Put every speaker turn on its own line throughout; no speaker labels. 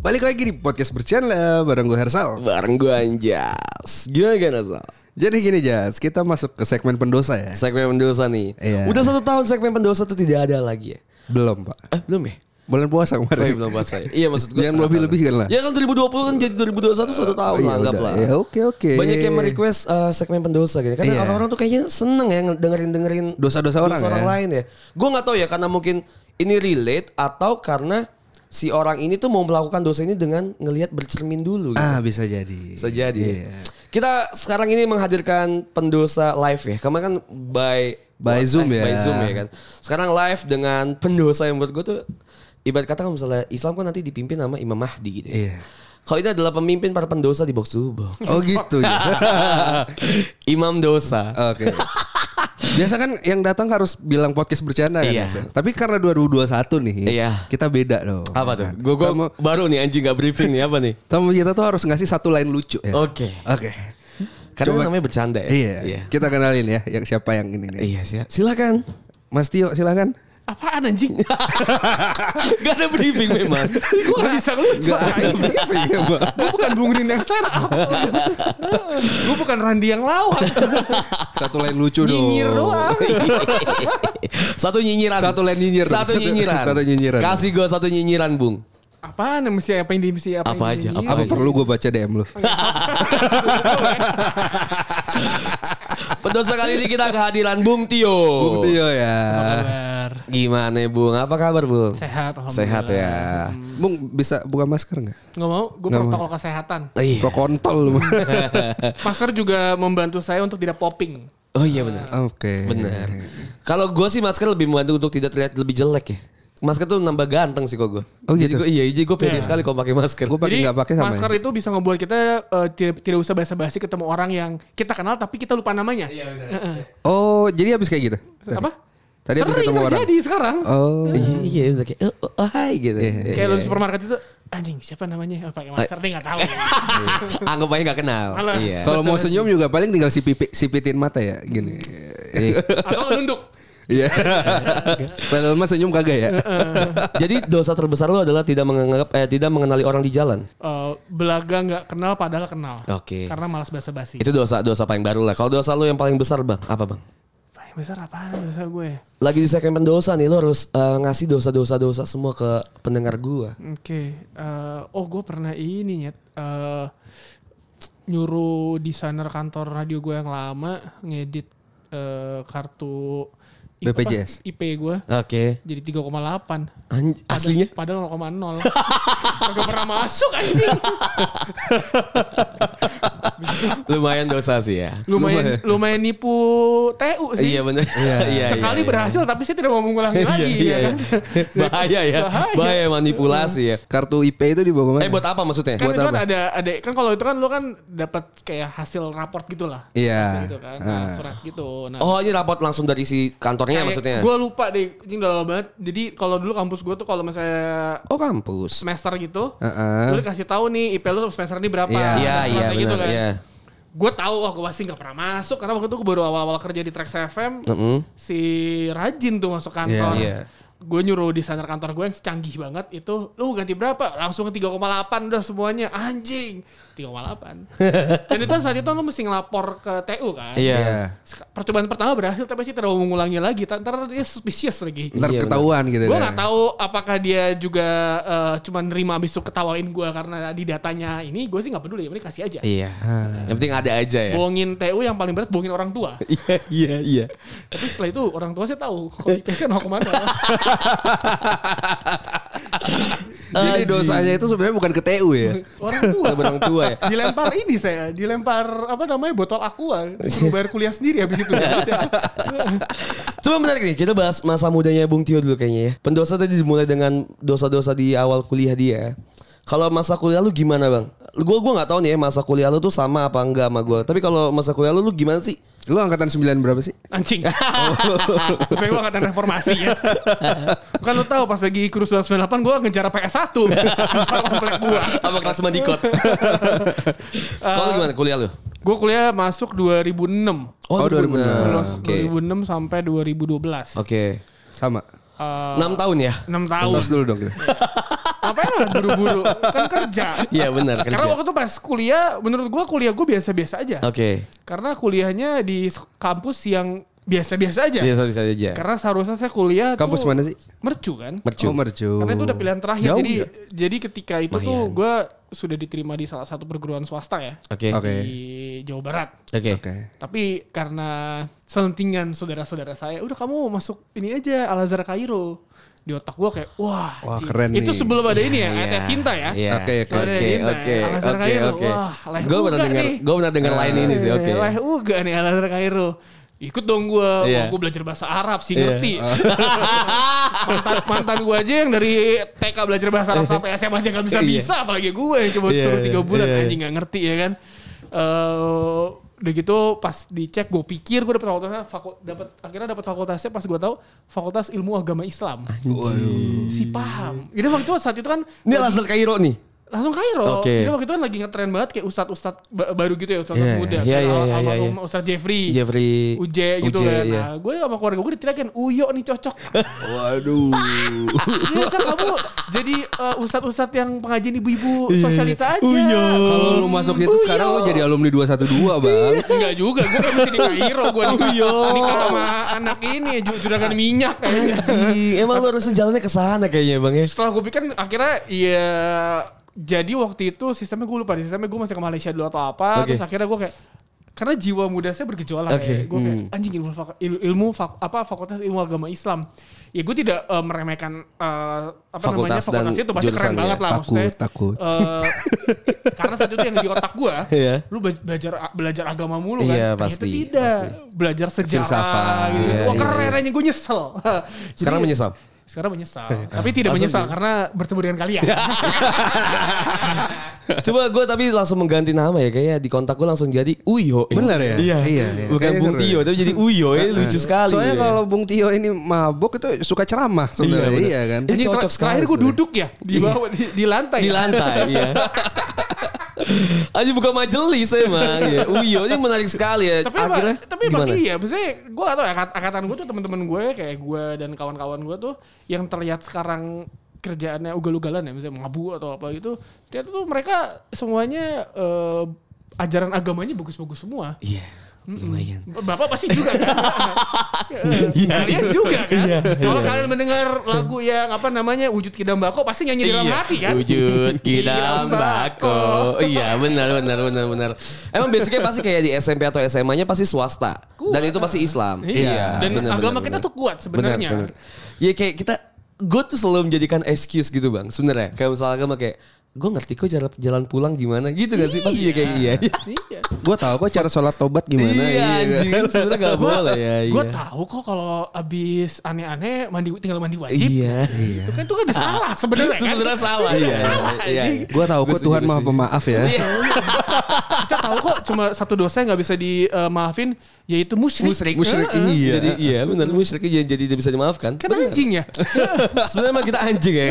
Balik lagi di podcast bercanda bareng gue Hersal.
Bareng gue Anjas Gimana gak Nazal?
Jadi gini Jas, kita masuk ke segmen pendosa ya.
Segmen pendosa nih
Iya.
Udah satu tahun segmen pendosa tuh tidak ada lagi ya
Belum pak.
Eh belum ya?
Bulan puasa
Oh, iya,
kemarin.
belum puasa ya? Iya maksud gue
Jangan
setengah
lebih-lebihkan
tahun.
lah.
Ya kan 2020 kan jadi 2021 satu tahun
iya,
lah anggaplah
udah. Ya, oke, oke.
Banyak yang merequest eh, segmen pendosa gitu Karena
Iya.
orang-orang tuh kayaknya seneng ya Dengerin-dengerin
Dosa-dosa orang ya.
lain ya Gue gak tahu ya karena mungkin ini relate Atau karena si orang ini tuh mau melakukan dosa ini dengan ngelihat bercermin dulu gitu.
Ah bisa jadi.
Bisa jadi.
Iya.
Kita sekarang ini menghadirkan pendosa live ya. Kemarin kan by eh,
By Zoom ya.
By Zoom ya kan. Sekarang live dengan pendosa yang menurut gue tuh ibarat kata kalau misalnya Islam kan nanti dipimpin sama Imam Mahdi gitu ya.
Iya.
Kalau ini adalah pemimpin para pendosa di box to box.
Oh gitu ya.
Imam dosa.
oke. Biasa kan yang datang harus bilang podcast bercanda kan.
Iya.
Jas? Tapi karena 2021 nih,
Iya.
kita beda dong.
apa tuh?
Kan?
Gue gua
Tamu-
baru nih anjing gak briefing nih apa nih?
tamu kita tuh harus ngasih satu line lucu ya.
Oke.
Oke.
Karena
Coba-
namanya bercanda ya.
Iya.
Oh. Iya.
Kita kenalin ya, yang siapa yang ini nih.
Iya sih. Silakan.
Mas Tio silakan.
Apaan anjing?
gak ada briefing memang.
Gue gak bisa lucu.
Gak ada briefing ya, Pak.
Gue bukan Bung Rin yang stand up. Gue bukan Randi yang lawan.
Satu line lucu dong.
Nyinyir doang.
satu nyinyiran.
Satu line nyinyir.
Satu nyinyiran.
Satu nyinyiran.
Kasih gue satu nyinyiran, Bung.
Apaan yang mesti apa yang di mesti apa,
Apa
yang
aja,
di- Iya,
apa
Apa
aja.
perlu gue baca DM lu?
ya.
Pendosa kali ini kita kehadiran Bung Tio.
Bung Tio ya.
Kabar.
Gimana, Bung? Apa kabar, Bung?
Sehat alhamdulillah.
Sehat ya.
Bung bisa buka masker nggak?
Gak mau, gue
Nggak mau.
protokol kesehatan.
Iya.
Pro kontol lu.
Masker juga membantu saya untuk tidak popping.
Oh iya benar.
Oke.
Benar. Kalau gue sih masker lebih membantu untuk tidak terlihat lebih jelek ya. Masker tuh nambah ganteng sih kok gue.
Oh,
Jadi
gitu?
gua- iya, jadi gue pede
Iya.
sekali kalau pakai masker.
Gua pakai
Jadi
nggak pakai sama.
masker
ya?
itu bisa ngebuat kita eh, tidak, tidak usah basa-basi ketemu orang yang kita kenal tapi kita lupa namanya. Iya
Oh, jadi habis kayak gitu. Tadi.
Apa?
Tadi habis
Sering
ketemu orang.
terjadi sekarang.
Oh.
Iya, iya, bener. kayak oh, oh, oh, hai gitu. Iya,
Kayak lo di
iya.
supermarket itu anjing siapa namanya? Oh, pakai masker nih nggak tahu.
Anggap aja gak kenal.
Males.
Iya.
Kalau mau senyum juga paling tinggal sipi- sipitin mata ya, gini.
Iya.
Atau nunduk.
Iya. Padahal mah senyum kagak ya.
Jadi dosa terbesar lo adalah tidak menganggap eh, tidak mengenali orang di jalan.
Eh, belaga nggak kenal padahal kenal.
Oke.
Karena malas basa-basi.
Itu dosa dosa paling baru lah. Kalau dosa lo yang paling besar bang, apa bang?
Paling besar apaan dosa gue?
Lagi di segmen dosa nih lo harus eh, ngasih dosa-dosa dosa semua ke pendengar gua.
Oke, eh, oh gue pernah ini nyet eh, nyuruh desainer kantor radio gue yang lama ngedit eh, kartu i- apa,
BPJS.
IP gue
Oke.
jadi 3,8
Anj- Aslinya?
padahal 0,0 Kagak pernah masuk anjing
Lumayan dosa sih ya.
lumayan lumayan nipu TU sih
Iya benar. Iya. iya,
sekali
iya.
berhasil tapi saya tidak mau mengulangi
Iya,
lagi
iya,
ya
iya.
kan?
Bahaya ya.
Bahaya.
Bahaya manipulasi ya.
Kartu IP itu dibawa kemana?
Eh buat apa maksudnya?
kan
Buat
itu kan
apa?
ada ada kan kalau itu kan lo kan dapat kayak hasil raport gitulah
Iya.
gitu kan nah,
Ah.
surat gitu nah
Oh ini rapot langsung dari si kantornya ya maksudnya?
Gue lupa deh, ini udah lama banget. Jadi kalau dulu kampus gue tuh kalau misalnya
Oh kampus.
semester gitu,
Heeh.
lu dikasih tahu nih IP lu semester ini berapa. gitu kan.
Iya,
ada
Iya iya
suratnya
benar. Iya.
Gue tahu, wah gue pasti nggak pernah masuk karena waktu itu gue baru awal-awal kerja di Trax FM,
Mm-mm.
si Rajin tuh masuk kantor.
Iya, iya.
Gue nyuruh desainer kantor gue yang canggih banget itu, lu ganti berapa? Langsung 3,8 udah semuanya, anjing. 3,8. Dan itu saat itu lu mesti ngelapor ke TU kan.
Iya.
Iya.
Sek- percobaan pertama berhasil tapi sih tidak mau mengulangi lagi Ta- ntar dia suspicious lagi
Ntar
Iya, benar.
ketahuan gitu
gue
kan.
nggak tahu apakah dia juga eh, cuman nerima abis itu ketawain gue karena di datanya ini gue sih nggak peduli yang penting kasih aja
Iya. Yang penting ada aja ya.
bohongin TU yang paling berat bohongin orang tua
Iya iya iya.
tapi setelah itu orang tua saya tahu kalau IPS kan mau kemana
Jadi
Anjing.
dosanya itu sebenarnya bukan ke TU ya.
orang tua
Sama orang tua ya.
dilempar ini saya dilempar apa namanya botol aqua disuruh bayar kuliah sendiri abis itu Ya udah.
Cuma menarik nih, kita bahas masa mudanya Bung Tio dulu kayaknya ya. Pendosa tadi dimulai dengan dosa-dosa di awal kuliah dia. Kalau masa kuliah lu gimana bang? Gue gua nggak tahu nih ya masa kuliah lu tuh sama apa enggak sama gue. Tapi kalau masa kuliah lu lu gimana sih?
Lu angkatan 9 berapa sih?
Anjing. Gue angkatan reformasi ya. kan lu tahu pas lagi kurus 98 gua ngejar PS1. Di komplek gua.
Apa kelas mandikot? Kalau lu gimana kuliah lu?
Gua kuliah masuk 2006.
Oh, 2006.
Lulus
Ah, Oke.
2006 sampai 2012.
Oke.
Sama.
Eh,
Enam tahun ya?
6 tahun.
Tos dulu dong.
Apa lah buru-buru? Kan kerja.
Iya benar
Karena
kerja.
waktu itu pas kuliah, menurut gua kuliah gua biasa-biasa aja.
Oke.
Karena kuliahnya di s- kampus yang biasa-biasa aja.
Biasa bisa aja.
Karena seharusnya saya kuliah
Iya, Kampus
tuh
mana sih?
Mercu kan?
Mercu.
Oh, mercu.
Karena itu udah pilihan terakhir.
Jauh
jadi
nggak?
jadi ketika itu tuh
Lumayan.
gue sudah diterima di salah satu perguruan swasta ya
Oke.
Oke.
di Jawa Barat.
Oke.
Oke.
Tapi karena selentingan saudara-saudara saya, udah kamu masuk ini aja Al Azhar Kairo. Di otak gue kayak wah,
Wah,
anjing.
keren
itu
nih.
sebelum ada ini ya,
Iya.
ada cinta ya.
Iya.
Oke, oke.
Kalau ada
Oke,
cinta, ya.
oke,
Al Azhar
oke,
Kairo.
oke.
Wah, leh
Gue pernah
uga
dengar,
nih.
gue pernah dengar lain ini
Iya,
sih. Oke.
Eh, Leh uga nih Al Azhar Kairo. Ikut dong gue,
Iya.
gue belajar bahasa Arab sih
Iya.
ngerti. mantan, mantan gue aja yang dari TK belajar bahasa Arab sampai SMA aja gak bisa bisa, apalagi gue yang coba
Iya,
suruh tiga
iya,
bulan
iya, iya.
anjing nggak ngerti ya kan. Eh, udah gitu pas dicek gue pikir gue dapet fakultasnya faku- dapet akhirnya dapet fakultasnya pas gue tahu fakultas ilmu agama Islam si paham jadi waktu itu saat itu kan
Ini laser Kairo nih.
langsung Kairo.
Oke.
Jadi waktu itu kan lagi ngetren banget kayak ustad-ustad ba- baru gitu ya, ustad
Iya,
muda.
iya,
Kayak
iya,
al-
iya,
almarhum
iya.
Ustad Jeffrey,
Jeffrey.
Uje gitu
Uje,
kan.
iya.
Nah, gue sama keluarga gue ditirakin Uyo nih cocok.
Waduh.
Ternyata kamu jadi eh, ustad-ustad yang pengajian ibu-ibu sosialita aja.
Iya. Uyo.
Kalau lu masuk itu sekarang lu jadi alumni 212, Bang.
Enggak juga, gue kan masih di Kairo, gue di
Uyo.
nikah sama anak ini, ju- juragan minyak kayaknya.
Anjing, Emang lu harus sejalannya ke sana kayaknya bang ya.
Setelah gue pikir akhirnya ya jadi waktu itu sistemnya gue lupa deh, sistemnya gue masih ke Malaysia dulu atau apa
Oke.
terus akhirnya gue kayak karena jiwa muda saya bergejolak
Oke, hmm.
ya. Gue kayak anjing ilmu fak- il- ilmu fak- apa fakultas ilmu agama Islam. Ya gue tidak eh, meremehkan eh, apa namanya
Fakultas dan
fakultas itu pasti keren
jurusan,
banget
ya.
lah
Takut,
maksudnya.
takut.
eh, karena saat itu yang di otak gue,
Iya.
lu be- belajar belajar agama mulu kan.
Iya,
Ternyata
pasti,
tidak.
pasti.
Belajar sejarah
Filsafat.
gitu.
Iya,
Wah,
iya,
keren
iya.
anjing gue nyesel.
Sekarang
Jadi-
menyesal.
sekarang menyesal, tapi tidak
Langsung Ya.
menyesal
dulu.
karena bertemu dengan kalian.
Coba gue tapi langsung mengganti nama ya kayaknya di kontak gue langsung jadi Uyo.
Bener ya?
Iya.
Iya, iya.
Bukan
Kayaknya
Bung
seru ya.
Tio tapi jadi Uyo ya lucu sekali.
Soalnya
ya.
kalau Bung Tio ini mabok itu suka ceramah sebenarnya.
bener.
Iya, kan?
Ini cocok
ter-
sekali
Terakhir gue
sebenarnya. Iya.
duduk ya di bawah di, di lantai.
di
ya.
lantai ya. Aja buka majelis emang ya. Uyo ini menarik sekali ya.
Tapi emang,
Akhirnya
tapi emang
gimana?
iya, maksudnya gue atau angkatan gue tuh teman-teman gue kayak gue dan kawan-kawan gue tuh yang terlihat sekarang kerjaannya ugal-ugalan ya, misalnya mabuk atau apa gitu, dia tuh mereka semuanya eh, ajaran agamanya bagus-bagus semua.
Iya. Lumayan.
Bapak pasti juga kan?
Iya,
kalian juga kan? Kalau kalian mendengar lagu yang apa namanya wujud kidam bako pasti nyanyi dalam hati kan?
Iya, Wujud kidam
Kidam bako.
bako. iya benar benar benar benar. Emang basicnya pasti kayak di SMP atau SMA-nya pasti swasta.
Kuat,
Dan itu pasti Islam.
Iya. Dan
benar,
agama
benar,
kita
benar.
tuh kuat
Benar,
sebenarnya.
benar. Ya kayak kita gue tuh selalu menjadikan excuse gitu bang sebenarnya kayak misalnya agama kayak gue ngerti kok jalan jalan pulang gimana gitu gak sih pasti ya kayak iya
Iya.
Gua tahu kok cara sholat tobat gimana.
iya
kan?
anjing sebenarnya gak boleh ya
Gue
iya.
tahu kok kalau abis aneh-aneh mandi tinggal mandi wajib.
iya
Itu kan itu kan udah salah sebenarnya
itu
kan.
sebenarnya salah
Itu
iya
salah,
iya
anjing.
Gua tahu kok
Gua
Tuhan
setuju,
Maha
setuju.
Pemaaf ya.
Iya.
Kita tahu kok cuma satu dosa yang nggak bisa dimaafin yaitu musyrik.
musyrik
Musyrik, iya.
jadi iya benar musyrik jadi jadi tidak bisa dimaafkan
Kan anjing ya.
sebenarnya emang kita anjing ya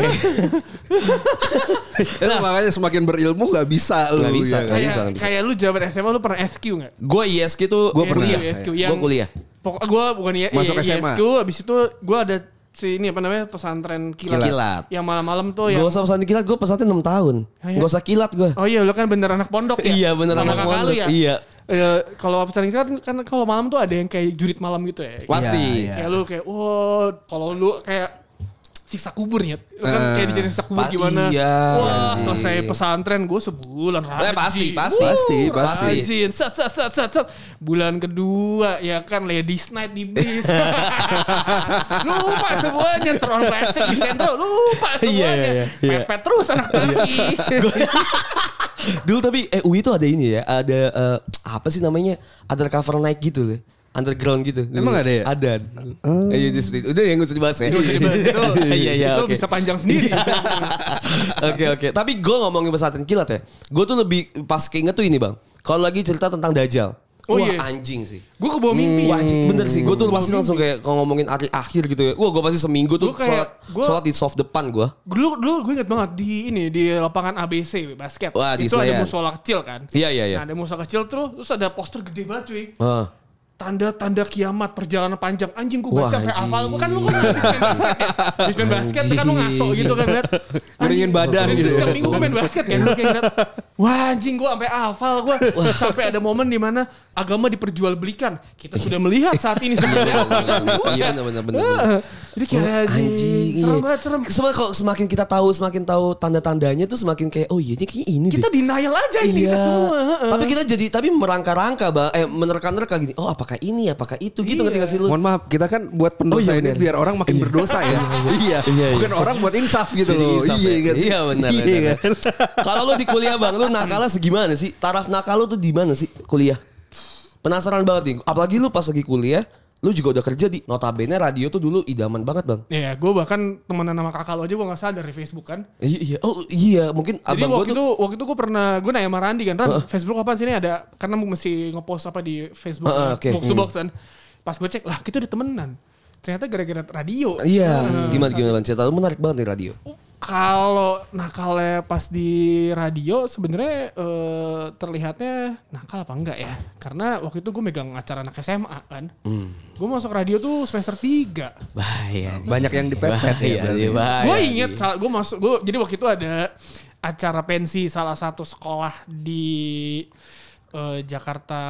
Eh, lu makanya semakin berilmu nggak bisa lu.
Nggak bisa,
ya kan?
nggak bisa.
kayak kayak lu zaman SMA lu pernah SQ nggak?
gue ISK tuh
Gua
Iya,
pernah.
dulu SQ yang
Gua kuliah.
Pokok gue bukan ya
Masuk
iya,
SMA.
ISQ, abis itu gue ada si ini apa namanya pesantren kilat.
Kilat.
Yang malam-malam tuh Oh, yang
Gak usah pesan kilat, gue pesannya 6 tahun.
Ah, iya.
Gak usah kilat gue.
Oh iya lu kan bener anak pondok ya.
Iya, bener
Sama
anak
kakak lu
pondok,
Ya?
iya.
Eh, kalau pesantren kilat kan kalau malam tuh ada yang kayak jurit malam gitu ya.
Pasti.
Kayak
Iya,
lu kayak wow kalau lu kayak siksa kubur ya. Lu kan
Eh,
kayak dijadiin siksa kubur
pa-
gimana.
iya,
Wah,
anjing.
selesai pesantren gue sebulan
Eh,
Ji.
pasti, pasti.
Wuh,
Pasti, pasti.
rajin. Set, set, set, set, set. Bulan kedua ya kan ladies night di bis. lupa semuanya teron plastik di sentro lupa semuanya.
Iya, iya, iya.
Pepet terus anak pergi.
Dulu tapi eh UI tuh ada ini ya, ada eh, apa sih namanya? Ada cover naik gitu loh. underground gitu.
Emang ada ya?
Ada.
Oh.
Ayo di split. Udah yang usah dibahas ya.
Itu bisa dibahas. Itu,
Iya iya
itu
oke.
bisa panjang sendiri.
Oke oke. Tapi gue ngomongin pesantren kilat ya. Gue tuh lebih pas keinget tuh ini bang. Kalau lagi cerita tentang Dajjal.
Oh,
Wah
iya.
anjing sih. Hmm,
gue kebawa mimpi.
Wah anjing bener sih. Gue tuh
Gua
pasti langsung kayak kalau ngomongin hari akhir gitu ya. Wah gue pasti seminggu tuh
Gua kayak-
sholat,
gua-
sholat di soft depan gue.
Dulu dulu gue inget banget di ini di lapangan ABC basket.
Wah, di
itu ada
Senayan.
musola kecil kan.
Iya, iya, iya.
Nah, ada musola kecil terus terus ada poster gede banget cuy.
Ah.
Tanda-tanda kiamat perjalanan panjang anjing gue baca
Wah,
kayak
anjing.
hafal gue kan lu kan habis main basket ya. Habis main basket tuh kan lu ngaso gitu kan liat
Ngeringin
Iya.
badan
Dan
gitu.
terus setiap minggu gue main basket kan gue kayak ngeliat, wah anjing gue sampai hafal gue sampai ada momen di mana agama diperjualbelikan kita sudah melihat saat ini sebenarnya
Iya bener bener bener. bener.
Heeh. jadi kayak anjing
iya.
serem banget serem
Sema- kalau semakin kita tahu, semakin tahu tanda-tandanya tuh semakin kayak oh iya ini kayak ini
kita
deh. Iya.
denial aja ini kita semua heeh.
Tapi kita jadi tapi merangka-rangka bang, eh menerka-nerka gini. Oh apakah ini, apakah itu
Iya.
gitu ngerti gak sih lu?
Mohon maaf, kita kan buat pendosa
Oh, iya,
ini
benar.
biar orang makin berdosa ya. iya.
Iya, iya.
Bukan orang buat insaf gitu
Jadi
loh.
insaf
Iya
ya.
nggak sih?
Iya benar.
Iya
benar.
kan?
Kalau lu di kuliah bang, lu nakalnya segimana sih? Taraf nakal lu tuh di mana sih kuliah? Penasaran banget nih. Apalagi lu pas lagi kuliah, lu juga udah kerja di notabene radio tuh dulu idaman banget bang.
Iya, gue bahkan temenan sama kakak lo aja gue gak sadar di Facebook kan.
Iya, iya. oh iya mungkin
Jadi
abang
waktu
gue tuh
itu waktu itu gue pernah gue nanya sama Randi kan, Ran, Facebook apaan sini ada karena mesti ngepost apa di Facebook
Heeh,
uh,
oke. Hmm.
box to box kan. Pas gue cek lah kita udah temenan. Ternyata gara-gara radio.
Iya,
Hmm.
gimana gimana bang cerita lu menarik banget nih radio.
Kalau nakalnya pas di radio sebenarnya eh, terlihatnya nakal apa enggak ya? Karena waktu itu gue megang acara anak SMA kan. Gue masuk radio tuh semester 3.
Bahaya. nih.
Banyak yang dipepet ya.
Bahaya,
berarti.
nih, bahaya.
gue
nih.
inget salah gue masuk gue jadi waktu itu ada acara pensi salah satu sekolah di eh, Jakarta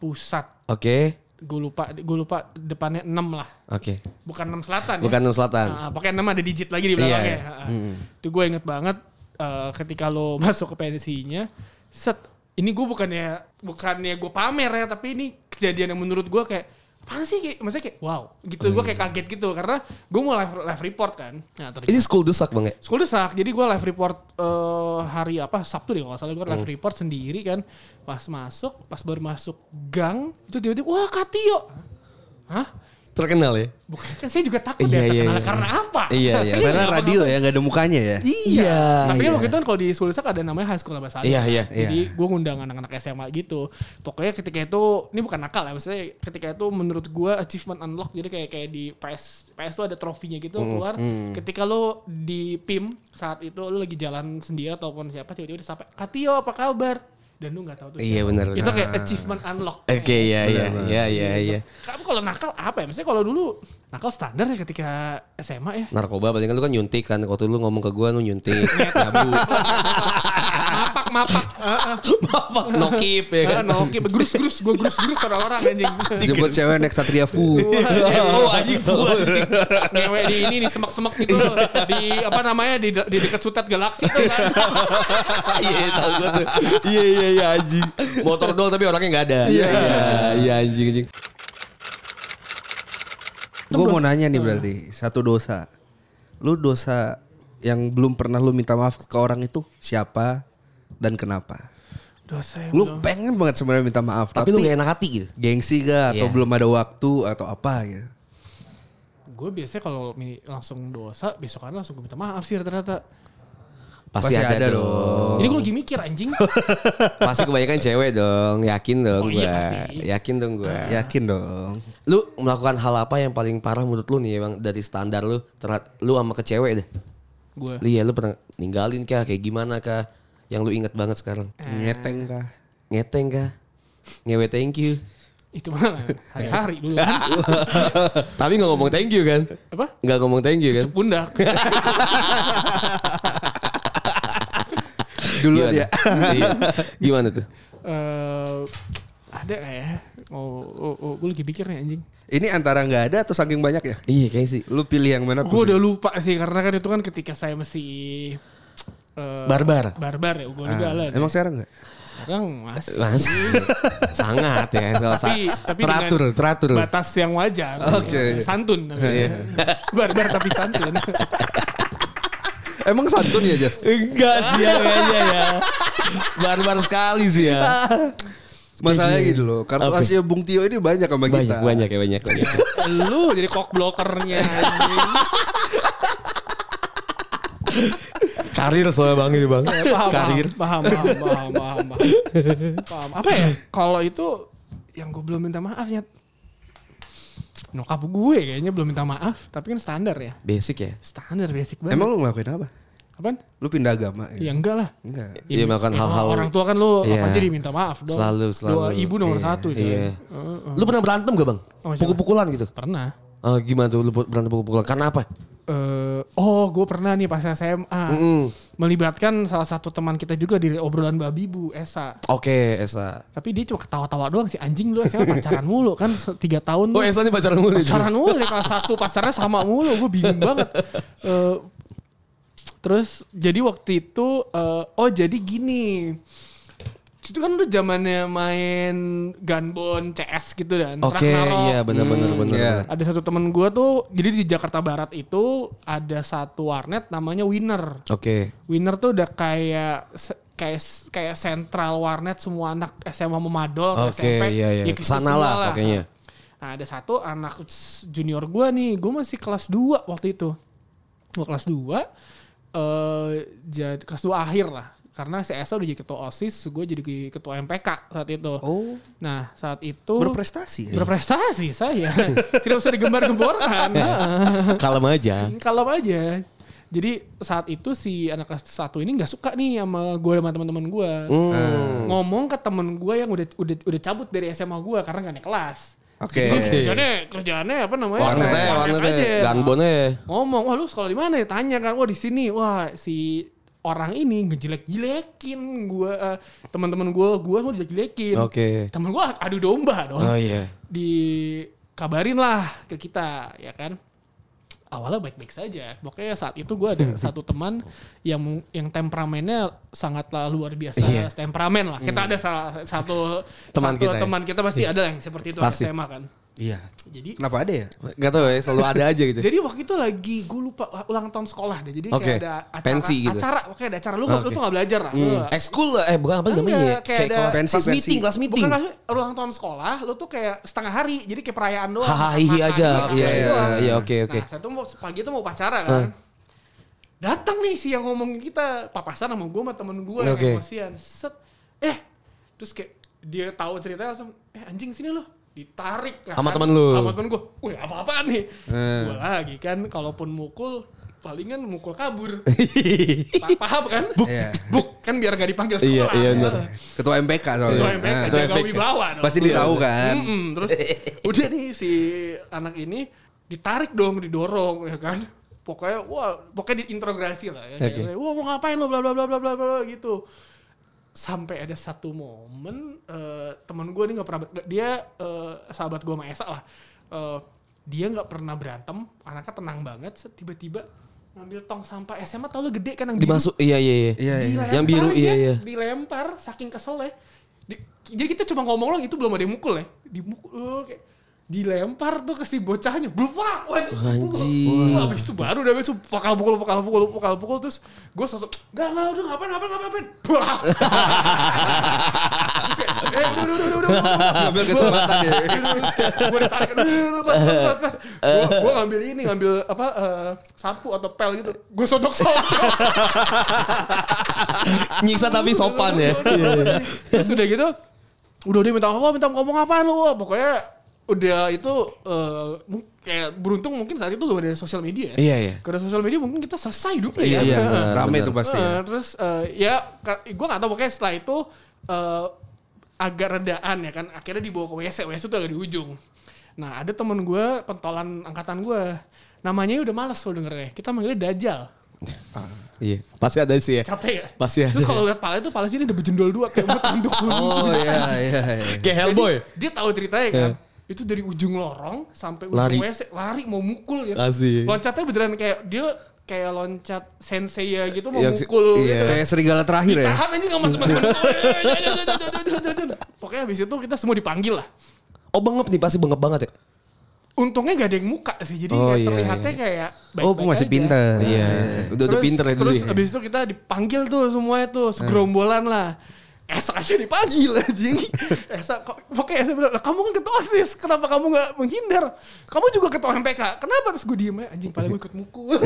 Pusat
Oke.
gue lupa gue lupa depannya 6 lah
Oke.
bukan 6 selatan
Bukan
ya.
Enam Selatan.
Ah, pokoknya 6 ada digit lagi di
Iya,
belakangnya
iya.
Ah, ah. itu gue inget banget eh, ketika lo masuk ke pensinya set ini gue bukannya bukannya gue pamer ya tapi ini kejadian yang menurut gue kayak apa sih kayak, maksudnya kayak wow gitu
Oh, iya.
gue kayak kaget gitu karena gue mau live, live report kan nah, ternyata-
Ini school desak bang ya?
Sekolah desak, jadi gue live report eh, hari apa Sabtu deh kalau nggak salah gue live
Hmm.
report sendiri kan. Pas masuk, pas baru masuk gang itu tiba-tiba wah Katio. Hah?
Terkenal ya?
Bukan kan saya juga takut ya
Iya, iya,
terkenal
iya.
karena apa?
Iya, iya.
Saya
Karena
nggak
radio
kenapa-napa.
ya nggak ada mukanya ya.
Iya.
Iya,
Tapi kan
iya.
waktu itu kan kalau di sekolah desak ada namanya high school bahasa Arab.
Iya, iya,
Jadi gue ngundang anak-anak SMA gitu. Pokoknya ketika itu ini bukan nakal ya, maksudnya ketika itu menurut gue achievement unlock jadi kayak kayak di PS PS tuh ada trofinya gitu keluar.
Mm.
Ketika lo di PIM saat itu lo lagi jalan sendiri ataupun siapa tiba-tiba disapa Katio apa kabar? Dan lu nggak tahu tuh.
Iya,
siapa.
benar.
Itu kayak achievement unlock. Eh,
Oke iya iya iya iya iya.
Kamu kalau nakal apa ya? Maksudnya kalau dulu nakal standar ya ketika SMA ya.
Narkoba paling kan lu kan nyuntik kan waktu lu ngomong ke gua lu nyuntik sabu.
Mapak mapak.
Maaf nokip ya kan.
Kan oke, gerus-gerus, gue gerus-gerus orang-orang anjing.
Jemput cewek naik Satria Fu.
Oh anjing full anjing.
Ngewe di ini di semak-semak gitu loh. di apa namanya di di dekat sutet galaksi tuh kan.
Iya iya, tahu gua tuh. Iya iya iya anjing. Motor doang tapi orangnya nggak ada. Iya iya anjing anjing.
Gue mau nanya nih berarti satu dosa. Lu dosa yang belum pernah lu minta maaf ke orang itu siapa dan kenapa?
Dosa yang
Lu pengen banget sebenarnya minta maaf
Tapi
tapi,
lu gak enak hati gitu.
gengsi gak atau
Iya.
belum ada waktu atau apa gitu.
Gue biasanya kalau mi- langsung dosa, besok kan langsung gue minta maaf sih ternyata.
Pasti,
Pasti
ada,
ada
dong.
Ini gue lagi mikir anjing.
Pasti kebanyakan cewek dong. Yakin
Oh,
dong gua.
iya, pasti.
Yakin dong gua.
Yakin dong.
Lu melakukan hal apa yang paling parah menurut lu nih ya bang dari standar lu terhad- lu sama ke cewek deh?
Gue.
Lu ya lu pernah ninggalin kah kayak gimana kah yang lu inget banget sekarang?
Ngeteng kah?
Ngeteng kah? Ngewe thank you.
Itu mana? Hari-hari dulu kan.
Tapi nggak ngomong thank you kan?
Apa?
Nggak ngomong thank you kan?
Cucuk pundak.
Dulu
Gimana?
dia.
Iya. Gimana tuh?
Eh, ada kayak ya? Oh, oh, oh gue lagi pikir nih anjing.
Ini antara nggak ada atau saking banyak ya?
Iya kayak sih.
Lu pilih yang mana?
Gue
tuh?
udah lupa sih karena kan itu kan ketika saya masih eh,
Barbar.
barbar ya gue
Ah,
jalan.
Emang sekarang nggak?
sekarang mas
Mas. Sangat ya. Kalau sa-
tapi, tapi
teratur,
dengan
teratur. Iya.
batas yang wajar Ya,
Oke.
santun namanya. barbar tapi santun
Emang santun ya Jas?
Enggak sih ya kayaknya ya. Barbar sekali sih ya.
Masalahnya gini loh, karena
Apa?
kasih Bung Tio ini banyak sama
Banyak,
kita.
banyak ya, banyak. banyak.
Lu jadi cock blockernya anjing.
Karir soalnya bang ini bang.
Eh, paham,
Karir.
paham, paham, paham, paham, paham, paham. Apa ya? Kalau itu yang gue belum minta maaf ya. Nyokap gue kayaknya belum minta maaf, tapi kan standar ya.
Basic ya.
Standar basic banget.
Emang lu ngelakuin apa?
Apaan?
Lu pindah agama
Ya
ya?
enggak lah.
Enggak.
Iya, melakukan hal-hal-
Orang tua kan lu
Iya.
apa aja diminta maaf dong.
Selalu, selalu.
Doa ibu nomor
Iya,
satu itu.
Iya.
gitu ya. Heeh.
Lu pernah berantem gak bang?
Sama siapa?
Pukul-pukulan gitu.
Pernah.
Eh, gimana tuh lu berantem pukul-pukulan? Karena apa?
Eh, oh, gue pernah nih pas SMA
Mm-mm.
melibatkan salah satu teman kita juga di obrolan babi bu Esa.
Oke, Esa.
Tapi dia cuma ketawa-tawa doang sih anjing lu SMA pacaran mulu kan se- tiga tahun.
Oh,
tuh.
Esa ini pacaran mulu. nih, cuy.
pacaran mulu dari kelas satu pacarnya sama mulu gue bingung banget Eh, terus jadi waktu itu eh, oh jadi gini itu kan udah zamannya main gunbon CS gitu dan
Oke,
Ragnarok.
iya benar-benar
Hmm,
benar.
iya.
benar.
ada satu temen gue tuh jadi di Jakarta Barat itu ada satu warnet namanya Winner
Oke.
Winner tuh udah kayak se- kayak kayak sentral warnet semua anak SMA memadol
Oke, iya, iya.
ke situ Ya, gitu
Kesana
semua
lah pakainya.
Nah, ada satu anak junior gua nih, gua masih kelas 2 waktu itu. Gua kelas 2 eh jadi kelas 2 akhir lah. Karena si Esa udah jadi ketua OSIS, gue jadi ketua MPK saat itu.
Oh.
Nah, saat itu
Berprestasi
Iya.
ya?
berprestasi saya. Tidak usah digembar-gemborkan.
Iya.
Nah.
Kalem aja.
Kalem aja. Jadi saat itu si anak kelas satu ini nggak suka nih sama gue sama teman-teman gue.
Hmm. Ah.
Ngomong ke temen gue yang udah udah udah cabut dari SMA gue karena gak naik kelas.
Oke.
Jadi Kerjaannya kerjaannya apa namanya?
Warnet ya,
Warnet
warnet
aja.
ya. Gunbone ya.
Ngomong, wah lu sekolah di mana? ya? Tanya kan, wah di sini. Wah si orang ini ngejelek-jelekin gue teman-teman gue gue mau jelek-jelekin.
Oke.
Temen gue adu domba dong
Oh iya.
dikabarin lah ke kita ya kan awalnya baik-baik saja pokoknya saat itu gue ada satu teman yang yang temperamennya sangatlah luar biasa
Iya.
temperamen lah kita ada salah satu
Teman
satu
kita ya.
teman kita pasti ada yang seperti itu
Pasti.
SMA kan
Iya.
jadi
Kenapa ada ya?
Gak tau ya, selalu ada aja gitu.
jadi waktu itu lagi gue lupa ulang tahun sekolah deh jadi
Oke.
kayak ada acara
Pensi gitu.
acara pokoknya ada acara lu nggak- lu
Oke.
tuh nggak belajar lah Lu-
Ekskul eh bukan apa namanya ya?
Enggak, kayak ada-
kelas,
Pensi,
kelas
pensi.
meeting, kelas meeting.
Bukan maksudnya ulang tahun sekolah, lu tuh kayak setengah hari, jadi kayak perayaan doang.
Hahaha hihi
Makan,
aja.
makan gitu
Iya iya
doang.
iya oke oke.
Nah, saya tuh mau pagi tuh mau upacara kan. Datang nih si yang ngomongin kita, papasan sama gue sama temen gue yang
Oke.
emosian. Set. Eh, terus kayak dia tahu ceritanya langsung, "Eh anjing sini lo." Ditarik lah
Sama
kan.
temen lu.
Sama temen gue. Wih, apa-apaan nih? Gue lagi kan kalaupun mukul palingan mukul kabur. Pa- Paham kan? Buk.
Iya.
Buk kan biar gak dipanggil sekolah.
Iya, iya, bener.
Ketua MPK soalnya.
Ketua MPK,
Nah,
jaga
Ketua MPK.
wibawa dong.
Pasti ditahu kan?
Mm-mm, terus udah nih si anak ini ditarik dong, didorong ya kan. Pokoknya wah, pokoknya diintrogasi lah ya.
Oke.
Kayak, wah mau ngapain lo bla bla bla bla bla bla gitu. Sampai ada satu momen eh, teman gue nih nggak pernah ber- dia eh, sahabat gue sama Esa lah. Eh, dia nggak pernah berantem, anaknya tenang banget. set, Tiba-tiba ngambil tong sampah SMA tau lo gede kan yang biru
Dimasuk iya iya iya.
Iya, iya.
dilempar
Yang biru,
aja,
iya, iya.
dilempar saking keselnya Di- jadi kita cuma ngomong loh itu belum ada yang mukul ya dimukul oh, kayak dilempar tuh ke si bocahnya blupak wajib
Anjing.
Wah, abis itu baru udah abis itu pakal pukul pakal pukul pakal pukul terus gue sosok gak gak udah ngapain ngapain ngapain ngapain Blah. Terus kayak, eh udah udah udah udah, udah udah.
Ambil kesempatan ya.
gue ditarik gue gue ngambil ini ngambil apa eh, sapu atau pel gitu gue sodok sodok
Nyiksa tapi sopan
Iya,
ya.
Terus udah gitu, udah udah minta apa, minta ngomong apaan lu. Pokoknya udah itu eh, mu- kayak beruntung mungkin saat itu belum ada sosial media ya.
Iya, iya.
Karena sosial media mungkin kita selesai hidupnya
Iya,
ya.
Iya,
benar,
rame
benar.
tuh pasti.
Eh,
ya.
terus eh, ya gue gak tau pokoknya setelah itu eh, agak redaan ya kan. Akhirnya dibawa ke WC, WC tuh agak di ujung. Nah ada temen gue, pentolan angkatan gue. Namanya udah males lo dengernya. Kita manggilnya Dajjal.
Iya. Pasti ada sih ya.
Capek ya?
Pasti ada.
Terus kalau lihat pala itu pala sini udah bejendol dua kayak buat tanduk bunyi.
Oh iya iya iya.
Kayak Hellboy. Eh.
Jadi, dia tahu ceritanya kan. Itu dari ujung lorong sampai ujung
Lari.
WC lari mau mukul ya.
Asik.
Loncatnya beneran kayak dia kayak loncat sensei ya gitu mau
Iya, si-
mukul gitu.
iya.
Kayak serigala terakhir ya.
Tahan aja sama teman-teman. Pokoknya habis itu kita semua dipanggil lah.
Oh bengep nih pasti bengep banget ya.
Untungnya gak ada yang muka sih. Jadi
Oh,
kayak
iya,
terlihatnya
iya.
kayak
Oh, masih pinter.
Iya. Udah udah pinter ya dulu.
Terus
ya.
abis itu kita dipanggil tuh semuanya tuh segerombolan lah. Esa aja dipanggil anjing. Esa kok pokoknya Esa bilang, "Lah, kamu kan ketua OSIS, kenapa kamu nggak menghindar? Kamu juga ketua MPK. Kenapa terus gue diem aja anjing paling gue ikut mukul."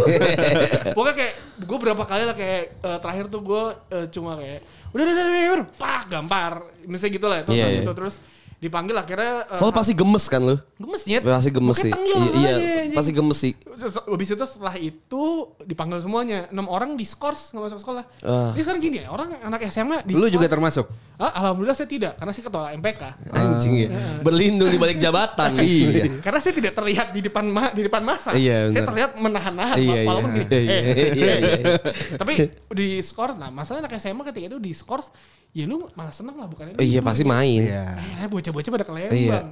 pokoknya kayak gue berapa kali lah kayak eh, terakhir tuh gue eh, cuma kayak udah udah udah, udah, udah, pak gampar. Misalnya gitu lah itu
Iya, iya.
gitu terus dipanggil akhirnya eh,
Soalnya pasti gemes kan lu?
gemes nyet.
Pasti gemes
Mukanya
sih.
tenggelam
Iya, iya,
aja, anjing.
pasti gemes sih.
Terus Habis itu setelah itu dipanggil semuanya. 6 orang di skors nggak masuk sekolah.
Ah.
Ini sekarang gini, orang anak SMA di
Lu
skors.
juga termasuk.
Ah, alhamdulillah saya tidak karena saya ketua MPK.
Anjing
Iya.
ya. Berlindung di balik jabatan.
Iya.
Karena saya tidak terlihat di depan ma- di depan masa.
Iya,
saya
benar.
terlihat menahan-nahan
Iya, iya.
walaupun gini.
Iya,
eh,
iya,
eh.
iya, iya.
Tapi di skors nah, masalah anak SMA ketika itu di skors ya lu malah seneng lah bukan
Oh Iya pasti main.
Iya.
Akhirnya bocah-bocah pada ke
Iya.
Lembang.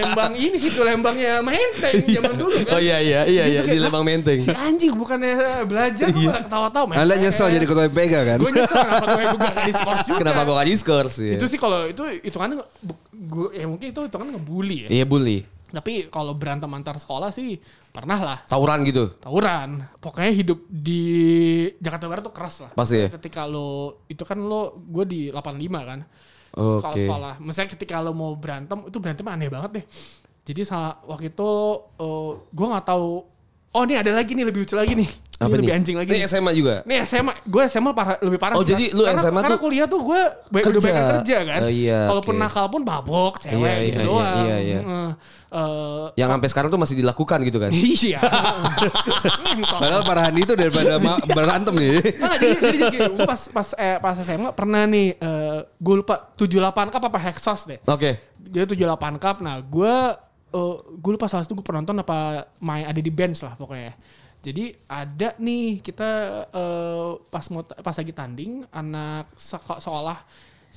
Lembang ini sih tuh Lembangnya Menteng zaman dulu kan.
Oh iya iya iya
Gitu
iya
kayak,
di Lembang
"Ah,
Menteng.
Si anjing bukannya belajar
Iya.
lu malah ketawa-tawa. main
Anda nyesel
PS."
jadi ketua MPK kan?
Gue nyesel kenapa gue juga gak di skors juga.
Kenapa gua gak diskors ya?
Itu sih kalau itu hitungannya nge- bu- gua ya mungkin itu hitungannya ngebully ya.
Iya bully.
Tapi kalau berantem antar sekolah sih pernah lah.
Tawuran gitu.
Tawuran. Pokoknya hidup di Jakarta Barat tuh keras lah.
Pasti ya?
Ketika lo itu kan lo gue di 85 kan.
Oke.
Sekolah-sekolah. Misalnya ketika lo mau berantem itu berantem aneh banget deh. Jadi sa- waktu itu gue nggak tahu. Oh ini ada lagi nih lebih lucu lagi nih. Ini
Apa
lebih
nih?
anjing lagi.
Ini
nih.
SMA juga.
Nih SMA, gue SMA parah, lebih parah.
Oh,
sih, Kak.
jadi lu
karena,
SMA
karena
tuh
kuliah tuh gue banyak udah
kerja.
banyak kerja kan.
Oh, iya,
Kalaupun
oke.
nakal pun babok, cewek
Iya,
gitu
iya, iya,
doang.
iya, iya.
Heeh. Eh,
Yang sampai sekarang tuh masih dilakukan gitu kan?
Iya. Ngentot.
Padahal parahan itu daripada ma- berantem nih.
Nah, jadi, jadi, jadi gini, gua pas pas eh, pas SMA pernah nih eh gue lupa 78 cup apa Hexos deh.
Oke.
Dia 78 cup. Nah, gue gue lupa salah satu gue penonton apa main ada di bench lah pokoknya. Jadi ada nih kita eh, pas mau ta- pas lagi tanding anak seko- sekolah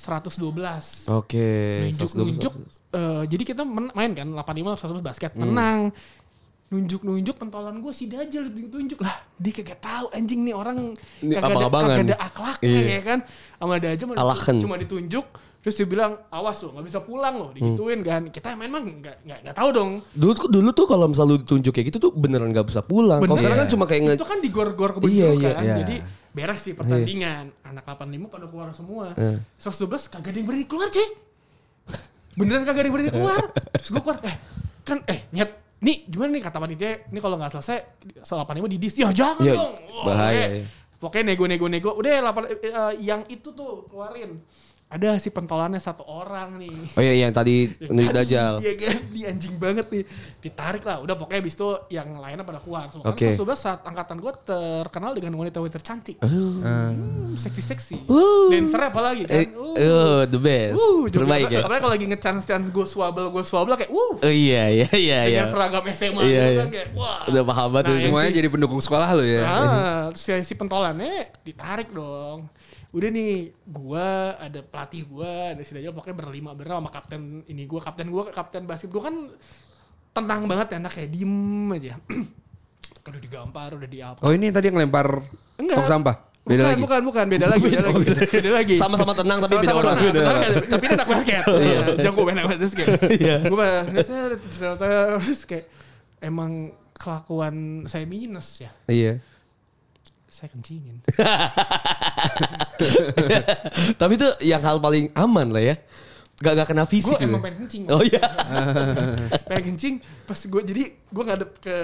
112
Oke.
nunjuk
112.
nunjuk eh, jadi kita men- main kan 85 111 basket
Hmm.
menang nunjuk nunjuk pentolan gue si Dajjal ditunjuk lah dia kagak tahu anjing nih orang
Ini
kagak ada
abang-abangan.
kagak ada akhlaknya
Iya.
ya kan sama Dajjal cuma,
Alakan.
cuma ditunjuk terus dia bilang awas lo nggak bisa pulang
Hmm.
lo digituin kan kita main mah nggak nggak nggak tahu dong
Dulu tuh dulu tuh kalau misal lu ditunjuk kayak gitu tuh beneran gak bisa pulang. Kalau
Bener.
sekarang kan cuma kayak nge
itu kan digor-gor ke baju
Iya, iya,
kan.
iya.
Jadi beres sih pertandingan. Anak 85 pada keluar semua.
Iya.
112 kagak ada yang berani keluar, cuy. Beneran kagak ada yang berani keluar. Terus gue keluar, eh kan eh nyet nih gimana nih kata panitia, nih kalau nggak selesai soal 85 di dis. Ya jangan
Iya,
dong. Wah,
bahaya,
pokoknya-
iya.
Pokoknya nego-nego-nego. Udah lapan, eh, eh, yang itu tuh keluarin. Ada si pentolannya satu orang nih.
Oh iya iya, yang tadi nunjuk
Tadi,
Dajjal.
Iya kan, di anjing banget nih. Ditarik lah, udah pokoknya abis itu yang lainnya pada keluar. So,
Oke. Ah.
Kan Tsubasa saat angkatan gue terkenal dengan wanita-wanita tercantik. Hmm, Seksi-seksi.
Wuh.
Dancer apalagi kan.
Eh, oh, the best.
Uh,
Terbaik ya.
Apalagi kalau lagi ngechance-chance gue swabel, gue swabel kayak uh.
Oh iya iya iya iya.
Dengan seragam SMA
Iya,
gitu
iya.
kan kayak wah.
Udah paham banget tuh
Nah,
Semuanya
yang si-
jadi pendukung sekolah lu ya.
Ah, si, si pentolannya ditarik dong. Udah nih, gua ada pelatih gua, ada si Dajjal pokoknya berlima berenam sama kapten ini gua, kapten gua, kapten basket gua kan tenang banget ya, kayak diem aja. Udah digampar, udah diapa.
Oh ini tadi yang lempar
Enggak.
tong sampah. Beda
bukan,
lagi.
Bukan, bukan, beda lagi, beda lagi. Beda lagi.
Sama-sama tenang tapi beda
Sama-sama
orang. Iya.
tenang, tenang, Tapi ini anak basket. Iya. Jago main anak basket. Gue terus kayak emang kelakuan saya minus ya.
Iya.
Saya kencingin.
Tapi itu yang hal paling aman lah ya. Gak gak kena
gue
fisik.
emang
gitu.
pengen kencing
Oh iya.
pengen kencing pas gue jadi gue ngadep ke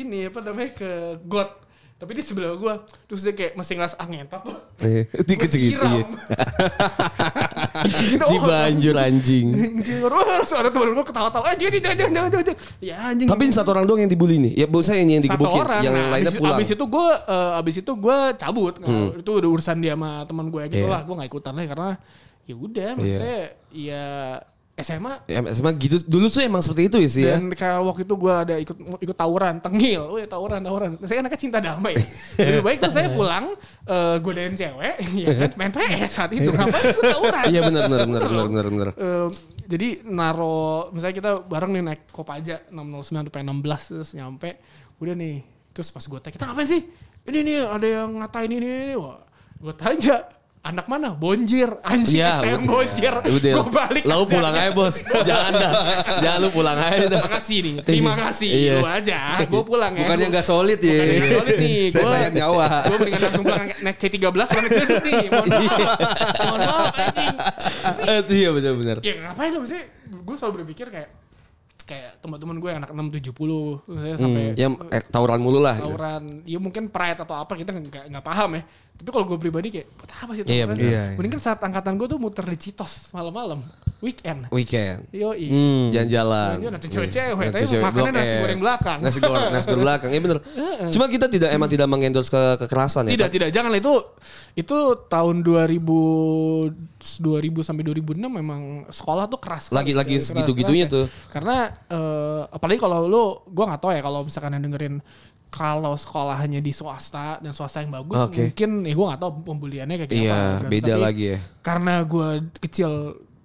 ini apa namanya ke got tapi dia sebelah gue terus dia kayak masih ngeras ah ngentot tuh
Iya, Dikecil
Gua
iya.
siram. Kencingin orang.
Dibanjur anjing.
Kencingin orang terus ada temen gue ketawa-tawa eh jangan jangan jangan jangan jangan ya anjing
Tapi ini satu orang doang yang dibully nih. Ya bosnya ini
satu
yang digebukin,
orang
yang, yang
Nah,
lainnya
abis,
pulang. Hmm.
abis itu gue abis itu gue cabut Nah, itu udah urusan dia sama teman gue gitu
Iya.
lah gue nggak ikutan lah karena ya udah maksudnya ya SMA
Ya, SMA gitu. Dulu tuh emang seperti itu ya sih ya.
Dan kayak waktu itu gue ada ikut ikut tawuran, tengil, wih tawuran, tawuran. Saya anaknya cinta damai. Lebih baik tuh saya pulang, eh godain cewek, ya kan, main PS saat itu. Ngapain ikut tawuran?
Iya benar benar benar benar benar benar.
Eh, jadi naro, misalnya kita bareng nih naik kopaja 609 sampai 16 terus nyampe. Udah nih, terus pas gue tag, kita ngapain sih? Ini nih ada yang ngatain ini, ini. Wah, gue tanya, anak mana? Bonjir. Anjing
Iya,
kita yang bonjir.
Udah.
Gue balik.
Lalu
aja.
pulang aja bos. Jangan dah. Jangan lu pulang aja dah.
Terima kasih nih. Terima kasih.
Eh, Iya.
Lu aja. Gue pulang ya.
Bukannya
Gua-
nggak solid ya.
Bukannya nggak solid nih.
Saya
Gua-
sayang nyawa.
Gue mendingan langsung pulang naik C13 kalau naik duduk nih. Mohon maaf. Mohon maaf anjing.
Eh, Iya benar-benar.
Ya ngapain lo sih? Gue selalu berpikir kayak kayak teman-teman gue yang anak 670 misalnya sampai
Hmm, iya,
Yang eh, tawuran mulu lah. gitu.
tawuran ya mungkin pride atau apa kita nggak nggak paham ya tapi kalau gue pribadi kayak buat apa sih
Iya,
tawuran
bener.
Iya, iya.
mending kan saat angkatan gue tuh muter di Citos malam-malam weekend
Weekend.
yo
Hmm, jalan-jalan.
Jalan-jalan, ada cewek-cewek,
Ada
tapi
cewek-cewek,
makannya
Blok
nasi
M.
eh.
goreng belakang.
Nasi goreng, nasi goreng belakang. Iya bener. Cuma kita tidak emang tidak mengendorse ke kekerasan ya.
tidak tidak jangan itu itu tahun 2000 2000 sampai 2006 memang sekolah tuh keras sekali.
Lagi- lagi
Keras-
segitu-gitunya
keras ya.
tuh.
karena eh, apalagi kalau lu gua nggak tahu ya kalau misalkan yang dengerin kalau sekolahnya di swasta dan swasta yang bagus
Oke.
mungkin ya gua nggak tahu pembuliannya kayak
Iya,
Kan,
beda
tapi
lagi ya.
karena gua kecil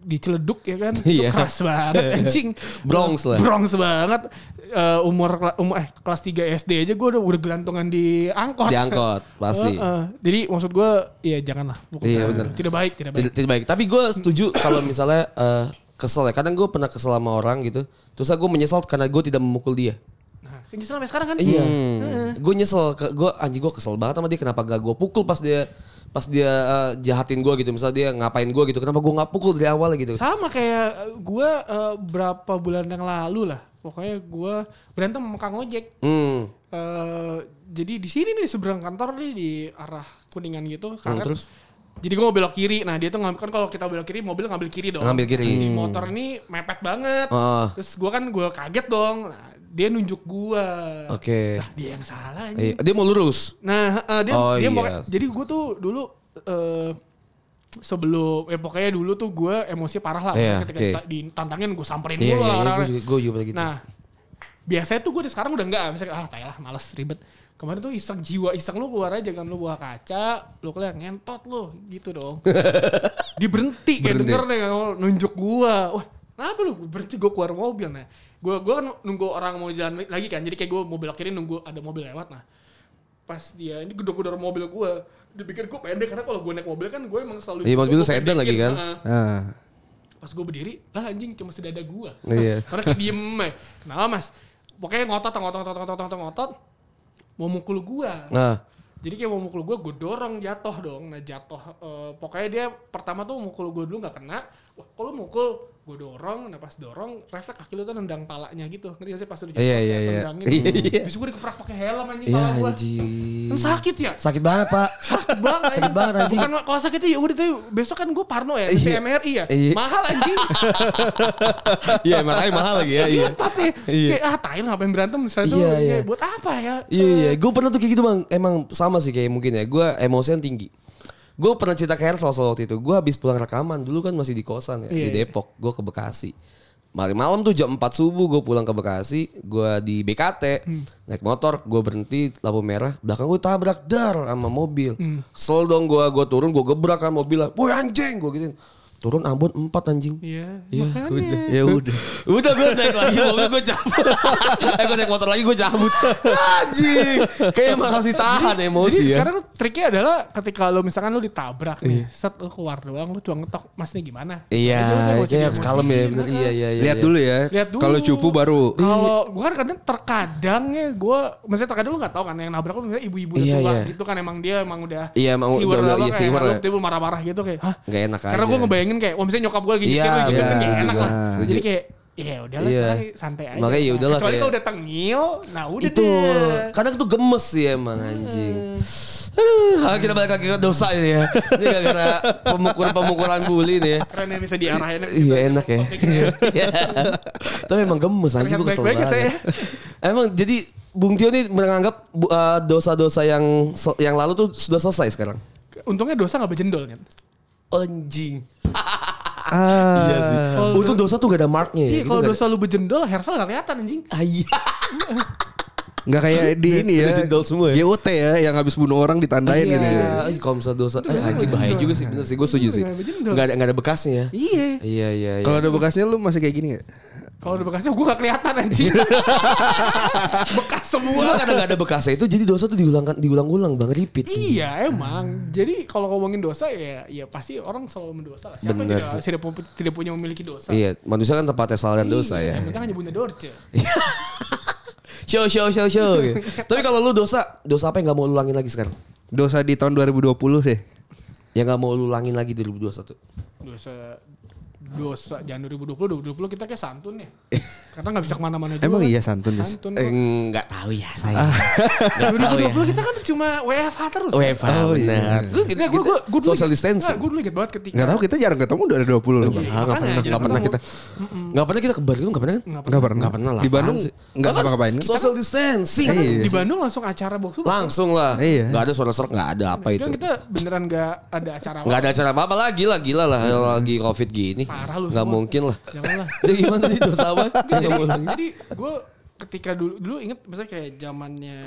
diceleduk ya kan itu
Iya.
keras banget anjing
Bronx lah.
Bronx banget Eh, umur umur eh kelas 3 SD aja gua udah udah gelantungan di angkot
Diangkot pasti.
Heeh. jadi maksud gue ya janganlah. Bukan-
Iya, bener.
Tidak baik, tidak baik.
Tidak, tidak baik. Tapi gue setuju kalau misalnya eh, kesel ya. Kadang gue pernah kesel sama orang gitu. Terus gue menyesal karena gue tidak memukul dia.
Nah, kan justru sampai sekarang kan.
Iya. Gue nyesel. Gue anjing gue kesel banget sama dia. Kenapa gak gue pukul pas dia pas dia eh, jahatin gue gitu. Misalnya dia ngapain gue gitu. Kenapa gue nggak pukul dari awal gitu.
Sama kayak gue berapa bulan yang lalu lah. Pokoknya gue berantem sama Kang Ojek.
Hmm.
Eh, jadi di sini nih seberang kantor nih di arah kuningan gitu. Karet.
Hmm, terus?
Jadi gue mau belok kiri. Nah dia tuh ngambil kan kalau kita belok kiri mobil ngambil kiri dong.
Ngambil kiri. Hmm.
Si motor ini mepet banget.
Heeh.
Terus gue kan gue kaget dong. Nah, dia nunjuk gue.
Oke.
Nah, dia yang salah anjing.
Iya, Dia mau lurus.
Nah, eh, dia
Oh,
dia
iya.
pokoknya- jadi gue tuh dulu eh sebelum ya pokoknya dulu tuh gue emosi parah lah
Iya,
ketika
oke.
dita- ditantangin gue samperin dulu
Iya,
lah
iya, iya,
orang-orang.
gue juga- gue juga pada gitu.
Nah, biasanya tuh gue sekarang udah enggak misalnya ah tai lah males ribet. Kemarin tuh iseng jiwa iseng lu keluar aja kan lu buah kaca, lu kelihatan ngentot lu gitu dong. Diberhenti kayak
Berhenti.
denger deh kalau nunjuk gua. Wah, kenapa lu berhenti gua keluar mobil nah. Gua gua kan nunggu orang mau jalan lagi kan. Jadi kayak gua mau belok kiri nunggu ada mobil lewat nah. Pas dia ini gedor-gedor mobil gua, dipikir gua pendek karena kalau gua naik mobil kan gua emang selalu
Iya, mobil
gua
sedan lagi
pendekin,
kan.
heeh
Ah.
pas gue berdiri lah anjing cuma sedada gua
Iya.
karena kayak diem aja. kenapa mas pokoknya ngotot ngotot ngotot ngotot ngotot ngotot mau mukul gua
Nah.
jadi kayak mau mukul gua gue dorong jatuh dong nah jatuh eh, pokoknya dia pertama tuh mukul gua dulu nggak kena wah kalau mukul gue dorong nah pas dorong refleks kaki lu tuh nendang palanya gitu ngerti gak sih pas lu jatuh
Iya, iya,
kayak
iya.
tendangin
Iya, iya.
bisa gue dikerak pakai helm anjing
Iya
pala gua
anjing.
kan sakit ya
Sakit banget pak.
sakit banget anjing.
Sakit banget, anjing.
Bukan kalau sakit tuh ya udah tuh besok kan gue parno ya, di
Iya.
MRI ya.
Iya.
Mahal anjing.
Iya makanya mahal lagi ya. Iya.
tapi
Iya.
kayak ah tai lah apa yang berantem misalnya tuh
Iya,
ya,
iya.
buat apa ya
Iya iya, gue pernah tuh kayak gitu bang. Emang sama sih kayak mungkin ya. Gue emosian tinggi. Gue pernah cerita ke Hersal soal waktu itu. Gue habis pulang rekaman dulu kan masih di kosan ya
Iya,
di
iya.
Depok. Gue ke Bekasi. Mari malam tuh jam 4 subuh gue pulang ke Bekasi. Gue di BKT
Hmm.
naik motor. Gue berhenti lampu merah. Belakang gue tabrak dar sama mobil.
Hmm.
Sel dong gue. Gue turun gue gebrak kan mobilnya. Woi anjing gue gituin. Turun Ambon 4 anjing.
Iya,
Iya,
makanya
udah.
Ya udah.
Udah gue naik lagi mobil gue cabut. eh gue naik motor lagi gue cabut. Anjing. Kayaknya emang harus ditahan
jadi
emosi ya.
sekarang triknya adalah ketika lo misalkan lo ditabrak nih set lo keluar doang lo cuma ngetok masnya gimana
Iya,
Itu udah gak usah
kayak harus kalem ya.
diemosiin,
Bener,
ah.
iya, iya, iya.
Lihat
iya.
dulu ya.
lihat dulu
Kalau cupu baru.
kalau gue kan kadang terkadang ya gue maksudnya terkadang lo nggak tahu kan yang nabrak lo misalnya ibu-ibu udah
Iya,
tua
iya.
gitu kan emang dia emang udah
Iya, emang
siwer
udah- udah-
apa
iya,
kayak
siwer
lalu
ya.
tiba-tiba marah-marah gitu kayak hah
Gak enak aja.
karena gue ngebayangin kayak oh misalnya nyokap gue lagi
Iya,
nyetir lo juga kan
bener,
gak
setuju
enak
gua.
lah jadi
Setuju.
kayak ya udahlah
Iya.
sekarang santai aja
Makanya ya udahlah
kecuali
kayak-
kalau udah tengil nah udah
Itu.
deh.
Kadang tuh gemes sih emang anjing. Aduh, ah, kita balik lagi ke dosa ini ya. Ini gara-gara pemukulan-pemukulan bully nih ya.
keren yang bisa diarahin
Iya enak ya. Iya. Tapi emang gemes anjing gue
Terlihat
kesel
baik-baik ya,
banget. ya. Emang jadi Bung Tio nih menganggap bu- eh, dosa-dosa yang se- yang lalu tuh sudah selesai sekarang.
untungnya dosa nggak berjendol kan
Anjing.
Ah.
Iya sih.
Eh, Kalau
Untung dosa tuh gak ada marknya ya.
iya
Itu
kalau
gak ada-
dosa lu berjendol Hersal nggak kelihatan anjing
Ah, iya.
Nggak kayak di ini ya.
Udah jendol semua ya.
GUT ya yang habis bunuh orang ditandain
ya.
gitu.
Iya. Ih, Kalau misalnya dosa, eh, anjing bahaya juga sih bener sih gue setuju sih.
Bener, bener.
Gak ada gak ada bekasnya ya.
iya
Iya iya. iya.
Kalau ada bekasnya lu masih kayak gini gak?
Kalau ada bekasnya gue gak kelihatan anjing. Bekas semua.
Cuma karena gak ada bekasnya itu jadi dosa tuh diulangkan diulang-ulang bang repeat.
Iya emang. Jadi kalau ngomongin dosa ya ya pasti orang selalu mendosa lah. Siapa yang
Bener
tidak,
sih.
tidak, pu- tidak punya memiliki dosa.
Iya, manusia kan tempatnya salah dan dosa
Iya,
ya.
Yang penting hanya punya dorce.
Show show show show. gitu. Tapi kalau lu dosa, dosa apa yang gak mau lu ulangin lagi sekarang?
Dosa di tahun 2020 deh.
Yang gak mau lu ulangin lagi di 2021.
Dosa dosa jangan 2020 2020 kita kayak santun ya. Karena nggak bisa kemana-mana juga. kan.
Emang iya santun, Jos?
Santun.
Eh,
kok.
Nggak tahu ya saya. Nggak tahu ya.
2020 kita kan cuma WFH terus.
WFH
Oh, iya.
benar. Gue
Nggak, gua- gua- gua dulu
gitu, social
inget-
distancing.
nggak, Gua dulu inget banget ketika.
Gak tahu kita jarang ketemu 2020 loh.
Iya,
Bang.
Ah, nggak
makanya
pernah,
jangan
nggak pernah
ketemu.
kita, nggak pernah kita ke Bandung, nggak pernah kan?
Nggak
Gak pernah.
Nggak pernah lah.
Di Bandung
apaan sih?
gak
Nggak
ngapa-ngapain.
kan? Social distancing.
Iya.
Di Bandung langsung acara box to box.
Langsung lah.
Iya.
Nggak ada suara serok, nggak ada apa itu.
Kan kita beneran nggak ada acara.
Nggak ada acara apa-apa lah, gila, gila lah. Lagi covid gini.
Parah lu
Nggak
semua.
mungkin lah.
Janganlah.
Jadi gimana sih dosa apa?
Jadi,
Nggak mau ulangin.
jadi gue ketika dulu dulu inget misalnya kayak zamannya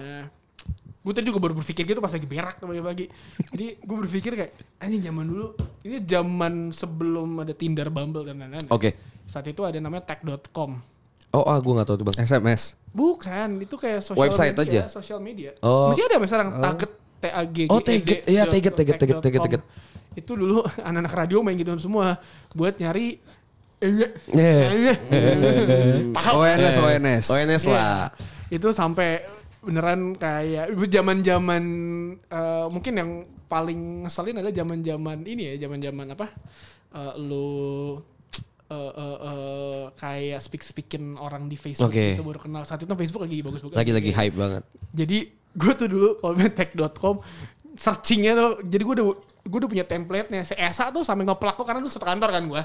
gue tadi juga baru berpikir gitu pas lagi berak tuh pagi-pagi. Jadi gue berpikir kayak anjing zaman dulu ini zaman sebelum ada Tinder, Bumble dan lain-lain. ya."
Oke.
Saat itu ada namanya tech.com.
Oh, ah, gue nggak tahu tuh bang.
SMS.
Bukan, itu kayak social
Website
media,
aja?
social media.
Oh.
Mesti ada misalnya target TAG
Oh, Taget. Iya, Taget, Taget, Taget, Taget, Taget.
E Itu dulu anak-anak radio main gitu semua buat nyari eh, eh,
Yeah.
eh. Paham?
ONS, ONS.
ONS lah.
Iya. Itu sampai beneran kayak itu zaman-zaman eh, mungkin yang paling ngeselin adalah zaman-zaman ini ya, zaman-zaman apa? Eh, lu eh eh, eh, kayak speak speakin orang di Facebook
Oke.
itu baru kenal saat itu Facebook lagi bagus-bagus
Lagi-lagi hype banget.
jadi gue tuh dulu kalau main tech.com searchingnya tuh jadi gue udah gue udah punya template-nya. Si Esa tuh sampai ngeplak kok karena dulu satu kantor kan gue.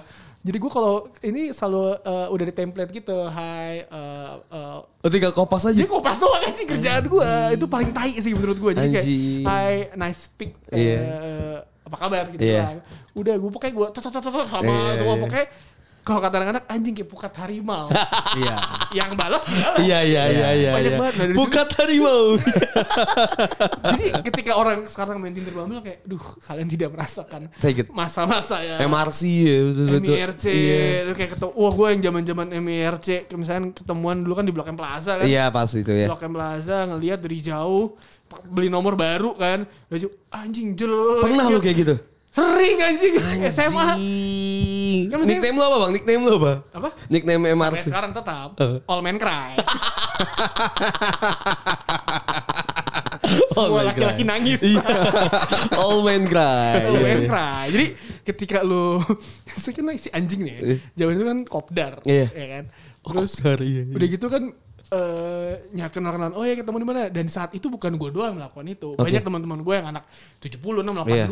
Jadi gue kalau ini selalu eh, udah di template gitu. Hai eh, eh,
Oh, tinggal kopas aja.
dia kopas doang aja kerjaan gue. Itu paling tai sih menurut gue. Jadi kayak
Anjing.
hai nice speak eh,
Iya.
apa kabar gitu
Iya.
lah. Udah gue pokoknya gue tot, tot, tot, tot, sama
Iya,
semua
iya.
pokoknya kalau kata anak-anak anjing kayak pukat harimau.
Iya.
yang balas balas.
Iya, iya, iya, iya.
Banyak
iya.
banget. Nah, dari
Bukan harimau.
Jadi ketika orang sekarang main Tinder Bumble kayak, duh kalian tidak merasakan
Take it.
masa-masa ya.
MRC ya betul-betul.
MIRC,
Iya.
lu kayak ketemu, wah gue yang zaman zaman MIRC, kayak misalnya ketemuan dulu kan di Blok M Plaza kan,
Iya pasti itu ya.
Blok M Plaza ngelihat dari jauh, pa- beli nomor baru kan, baju anjing jelek.
Pernah lu kayak gitu?
Sering anjing, SMA.
Anjing.
Kan mesti-
Nickname lu apa bang? Nickname lu apa?
Apa?
Nickname
Sampai
MRC.
sekarang tetap, All Men Cry.
All
Semua
men
laki-laki
cry.
nangis.
Iya. All men cry.
Lu
Iya,
bayangin
iya.
cry. Jadi ketika lu saya kan si anjing nih, ya. zaman itu kan kopdar,
Iya.
ya kan. Terus
kopdar, iya, iya.
udah gitu kan eh nyari kenalan oh ya ketemu di mana dan saat itu bukan gue doang melakukan itu
Oke.
banyak teman-teman gue yang anak 70 6 82
Iya.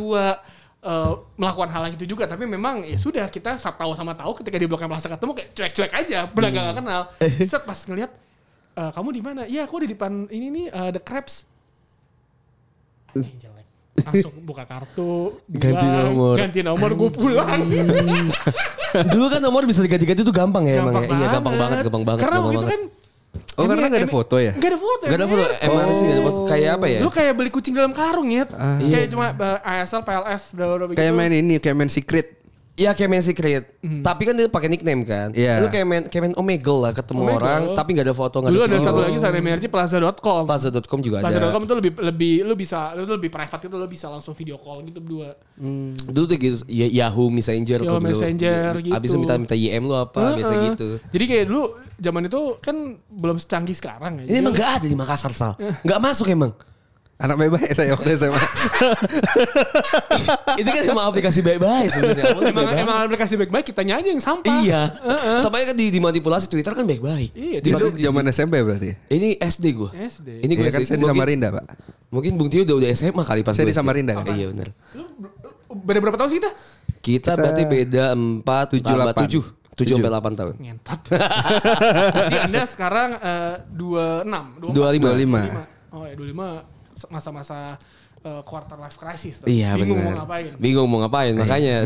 eh, melakukan hal yang itu juga tapi memang ya sudah kita sa- tahu sama tahu ketika di blok M Plaza ketemu kayak cuek-cuek aja
Iya.
benar nggak kenal set pas ngeliat eh, kamu di mana iya aku di depan ini nih eh, the crabs Anjing jelek. Langsung buka kartu,
Eh. Ganti
buang,
nomor.
ganti nomor gue pulang.
Dulu kan nomor bisa diganti-ganti tuh gampang ya emang. ya. Iya gampang banget, gampang banget.
Karena
gampang
waktu itu kan
banget.
Oh, karena nggak ada
ini-
foto ya?
Gak ada foto.
Gak ada foto
Nyet.
MRC gak ada foto. Kayak apa ya? Ah, iya.
Lu kayak beli kucing dalam karung ya. kayak cuma eh, ASL, PLS, bla gitu. bla
Kayak main ini, kayak main secret.
Ya kayak main secret. Tapi kan dia pakai nickname kan.
Iya.
Lu kayak main kayak main Omegle lah ketemu
Omegle.
orang tapi gak ada foto, gak
Dulu
ada
ada satu
video.
lagi selain MRC plaza.com.
Plaza.com juga ada.
Plaza.com itu lebih lebih lu bisa lu lebih private gitu lu bisa langsung video call gitu berdua.
Dulu tuh gitu ya, Yahoo Messenger
Yahoo
tuh dulu.
Messenger gitu.
Abis itu minta minta YM lu apa biasa
Heeh.
gitu.
Jadi kayak dulu zaman itu kan belum secanggih sekarang ya. Jadi
Ini emang gak ada di Makassar Sal. Gak masuk emang.
Anak bebas ya saya waktu SMA.
itu kan emang aplikasi baik-baik sebenarnya. Awalnya
emang,
baik-baik.
emang aplikasi baik-baik kita aja yang sampah.
kan? Iya. Sampai kan di dimanipulasi Twitter kan baik-baik.
Iya,
Dipakai-
Itu zaman SMP berarti. ya?
Ini SD gua.
SD.
Iya
Ini gua
kan
SD.
saya di
mungkin,
Samarinda, Pak.
mungkin Bung Tio udah udah SMA kali pas
Saya
gua
di
SD.
Samarinda kan?
Iya benar.
Lu ber- beda berapa tahun sih kita?
Kita, berarti beda 4
Tujuh, delapan.
7 7 sampai 8 tahun.
Ngentot. Jadi Anda sekarang eh, 26, 24.
25.
25.
Oh ya 25 se- masa-masa eh, eh, quarter life crisis. tuh.
Iya
Bingung
benar.
mau ngapain.
Bingung mau ngapain. Makanya.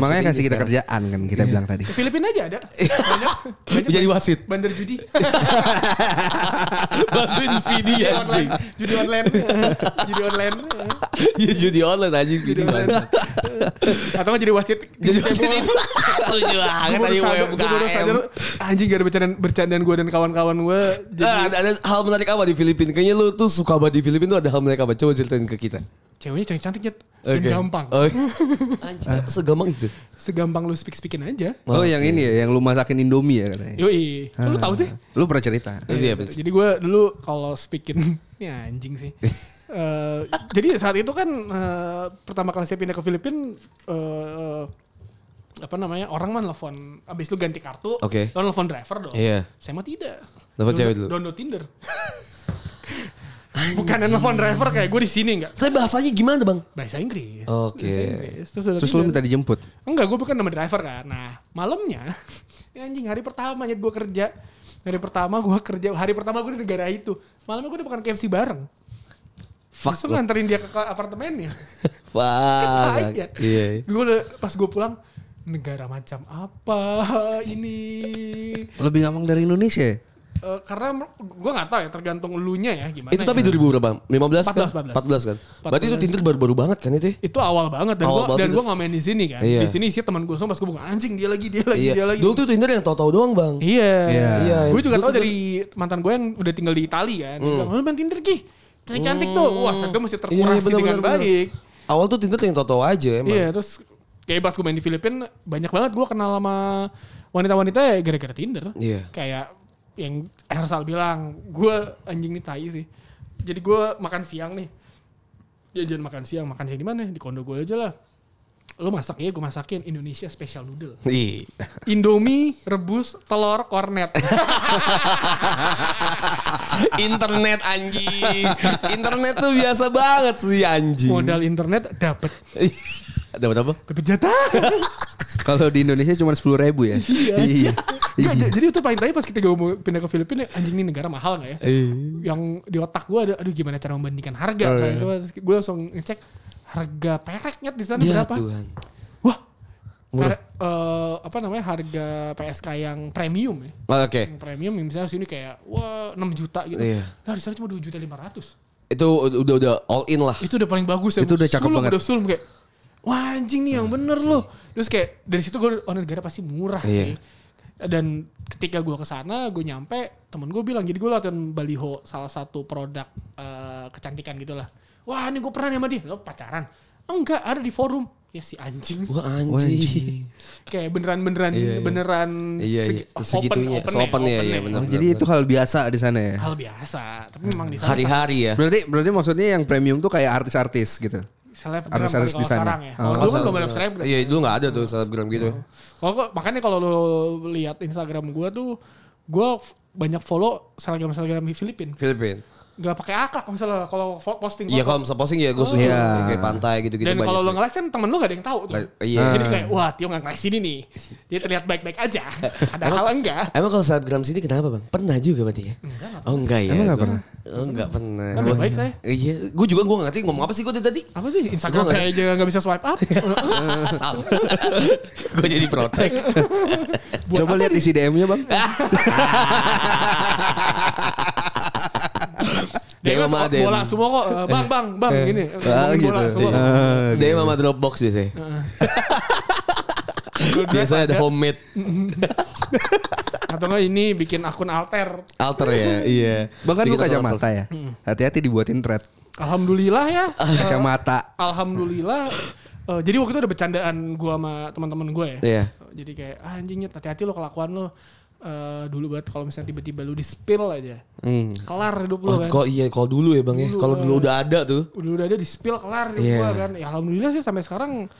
Iya. Makanya kasih
sedih
kita
sekarang.
kerjaan kan kita bilang tadi.
Ke Filipina aja ada. Banyak, banyak
Iya. Jadi wasit.
bandar judi.
Bantuin video
judi
anjing.
online. Judi online. judi online.
Ya judi online anjing video.
Atau nggak jadi wasit.
Jadi wasit itu. Lucu banget
Gue
tadi
baru sadar, gue baru sadar,
UMKM.
anjing gak ada bercandaan, bercandaan gue dan kawan-kawan gue. Jadi
Ah, ada, ada hal menarik apa di Filipina? Kayaknya lu tuh suka banget di Filipina tuh ada hal menarik apa? Coba ceritain ke kita.
ceweknya cantik-cantik Nyet. dan
Oke. Oh.
gampang.
Oke. Anjing, segampang itu.
Segampang lu speak-speakin aja.
Oh yang
iya.
ini ya, yang lu masakin Indomie ya katanya.
Yoi, Kok
Ah.
lu tahu sih?
Lu pernah cerita.
Iya, betul.
Jadi gue dulu kalau speaking, ini anjing sih. Eh, jadi saat itu kan eh, pertama kali saya pindah ke Filipina, eh, apa namanya orang mah nelfon abis lu ganti kartu,
Oke.
lo nelfon driver dong.
Iya.
Saya mah tidak.
Nelfon
Download-
cewek dulu.
Download Tinder. Bukan nelfon driver kayak gue di sini enggak.
Tapi bahasanya gimana, Bang?
Bahasa Inggris.
Oke.
Bahasa Inggris. Terus, ada
Terus lu
Tinder.
minta dijemput.
Enggak, gue bukan nama driver kan. Nah, malamnya, ya anjing hari pertama nyet gue kerja. Hari pertama gue kerja, hari pertama gue di negara itu. Malamnya gue udah makan KFC bareng.
Fuck.
Langsung
lu.
nganterin dia ke ke apartemennya.
Fuck.
Aja.
Iya.
Gue udah, pas gue pulang, negara macam apa ini?
Lebih gampang dari Indonesia ya?
Eh, karena gue nggak tahu ya, tergantung elunya ya gimana.
Itu
ya.
tapi 2000 berapa? 15 kan?
14,
14 kan. Berarti itu Tinder baru-baru banget kan itu? ya?
itu awal banget dan gue
Awal banget
dan
itu.
gue nggak main di sini kan.
Iya.
Di sini sih teman gue semua pas gue buka anjing dia lagi dia lagi
Iya.
dia lagi.
Dulu tuh Tinder yang tahu-tahu doang, Bang.
Iya.
Iya.
Iya.
Gue juga
Dulu
tahu
tuh
dari mantan gue yang udah tinggal di Itali kan. Dia bilang, "Lu main Tinder Ki." Cantik cantik tuh. Wah, saya masih
Iya,
terkurasi
benar,
dengan
benar, benar.
baik.
Awal tuh Tinder yang tahu-tahu aja emang.
Iya, terus kayak pas gue main di Filipina banyak banget gue kenal sama wanita-wanita ya gara-gara Tinder.
Iya.
Kayak yang Hersal bilang, gue anjing nih tai sih. Jadi gue makan siang nih. Ya jangan makan siang, makan siang di mana? Di kondo gue aja lah. Lo masak ya, gue masakin Indonesia special noodle.
Ih.
Indomie, rebus, telur, kornet.
Internet anjing. Internet tuh biasa banget sih anjing.
modal internet dapat
Ada apa?
dapat jatah.
Kalau di Indonesia cuma 10.000 ribu ya? Iya.
Nggak, j- jadi itu paling tadi pas kita gua mau pindah ke Filipina anjing ini negara mahal nggak ya?
Eh.
Yang di otak gue ada aduh gimana cara membandingkan harga.
Oh,
Soalnya
iya.
itu gue langsung ngecek harga pereknya di sana
Ya
Kan berapa?
Tuhan.
Wah.
Murah.
per- eh, apa namanya harga PSK yang premium ya?
Oh, Oke.
Yang premium yang misalnya sini kayak wah 6 juta gitu.
Iya.
Nah, di sana cuma 2 juta 500.
Itu udah udah all in lah.
itu udah paling bagus ya.
Itu udah cakep
Sulung,
banget.
Udah sulung kayak wah anjing nih yang bener loh. Terus kayak dari situ gue oh negara pasti murah sih.
Iya.
Dan ketika gue kesana gue nyampe temen gue bilang jadi gue latihan baliho salah satu produk eh, kecantikan gitulah. Wah ini gue pernah nih sama dia lo pacaran? Enggak ada di forum ya si anjing
Wah
Wah,
anjing.
anjing.
kayak beneran beneran
Iya, iya.
beneran
Iya, iya. Segitunya. Seopen ya, iya, bener.
Oh, jadi itu hal biasa di sana ya?
hal biasa tapi memang di sana
Hari-hari ya.
Berarti berarti maksudnya yang premium tuh kayak artis-artis gitu.
selebgram kali
Artis-artis
kalau
di sana.
sekarang ya
Oh.
kalau dulu kan belum ada selebgram
Iya, dulu nggak ada tuh selebgram gitu.
Kalau Oh, kok- makanya kalau lo lihat Instagram gue tuh, gue f- banyak follow selebgram-selebgram di Filipina.
Filipin.
Gak pakai akal kalau misalnya kalau fo- posting.
Iya
foto.
kalau misal posting ya gue setuju
Iya.
kayak pantai gitu-gitu
Dan kalau lo
sih.
nge-like kan temen lo gak ada yang tahu tuh.
Nggak- iya.
Jadi kayak, wah Tio gak nge-like sini nih. Dia terlihat baik-baik aja. Ada hal enggak.
Emang kalau selebgram sini kenapa bang? Pernah juga berarti ya? Oh enggak ya.
Emang nggak
Gua-
pernah?
Oh enggak pernah.
Kan
Gua-
baik-baik saya.
Iya, gue juga gue ngerti ngomong apa sih gue tadi.
Apa sih Instagram
Gua nggak-
saya aja gak bisa swipe up.
gue jadi protek.
Buat
Coba
apa
lihat
nih?
isi DM-nya, Bang.
Dia kan
Dewa
suka
Maden.
bola semua kok. eh, Bang, bang, bang. Gini.
Ah,
ngomongin
gitu.
Bola semua.
Iya.
Ah,
Dia mama Dropbox biasanya.
Google Drive
Biasanya ada homemade
Atau enggak ini bikin akun alter.
alter ya. Iya.
Bang kan lu
Bikin alter-
kacamata ya? Hati-hati dibuatin thread.
Alhamdulillah ya.
Oh.
Kacamata.
alhamdulillah eh, jadi waktu itu ada bercandaan gua sama teman-teman gue ya.
Iya.
Jadi kayak ah, anjingnya hati-hati lo kelakuan lo Eh, dulu banget kalau misalnya tiba-tiba lu di spill aja. Kelar hidup lo
Oh,
kan.
kalau iya kalau dulu ya bang ya.
Dulu,
Kalau dulu
eh.
udah ada tuh.
Udah udah ada di spill kelar hidup
Iya.
gua kan. Ya alhamdulillah sih sampai sekarang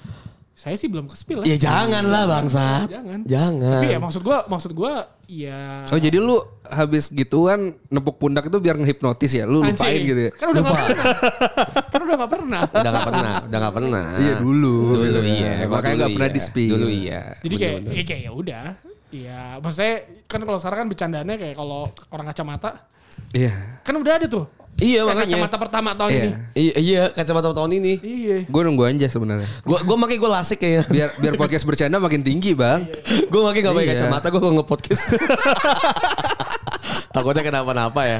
saya sih belum ke spill
Ya jangan lah bangsat.
Jangan.
Jangan.
Tapi ya maksud gua maksud gua ya
Oh, jadi lu habis gituan nepuk pundak itu biar ngehipnotis
iya,
ya? Lu lupain
Anjing.
gitu ya?
Kan udah nggak pernah. kan udah nggak pernah.
udah gak pernah, udah gak pernah.
Iya, dulu.
Dulu
Gitu kan.
iya. Kalau
Makanya
dulu
nggak pernah
iya.
di-spill.
Dulu iya.
Jadi kayak
Bener-bener.
ya kayak ya udah. Iya, maksudnya kan kalau sekarang kan bercandanya kayak kalau orang kacamata
Iya.
Kan udah ada tuh. Yang
Iya makanya.
Kacamata pertama tahun
Iya.
ini.
Iya, iya kacamata tahun ini.
Iya.
Gue nunggu aja sebenarnya.
Gua gua makai gua lasik kayaknya.
Biar biar podcast bercanda makin tinggi bang.
gue makin gak pakai
Iya.
kacamata gue kalau nge-podcast takutnya kenapa-napa ya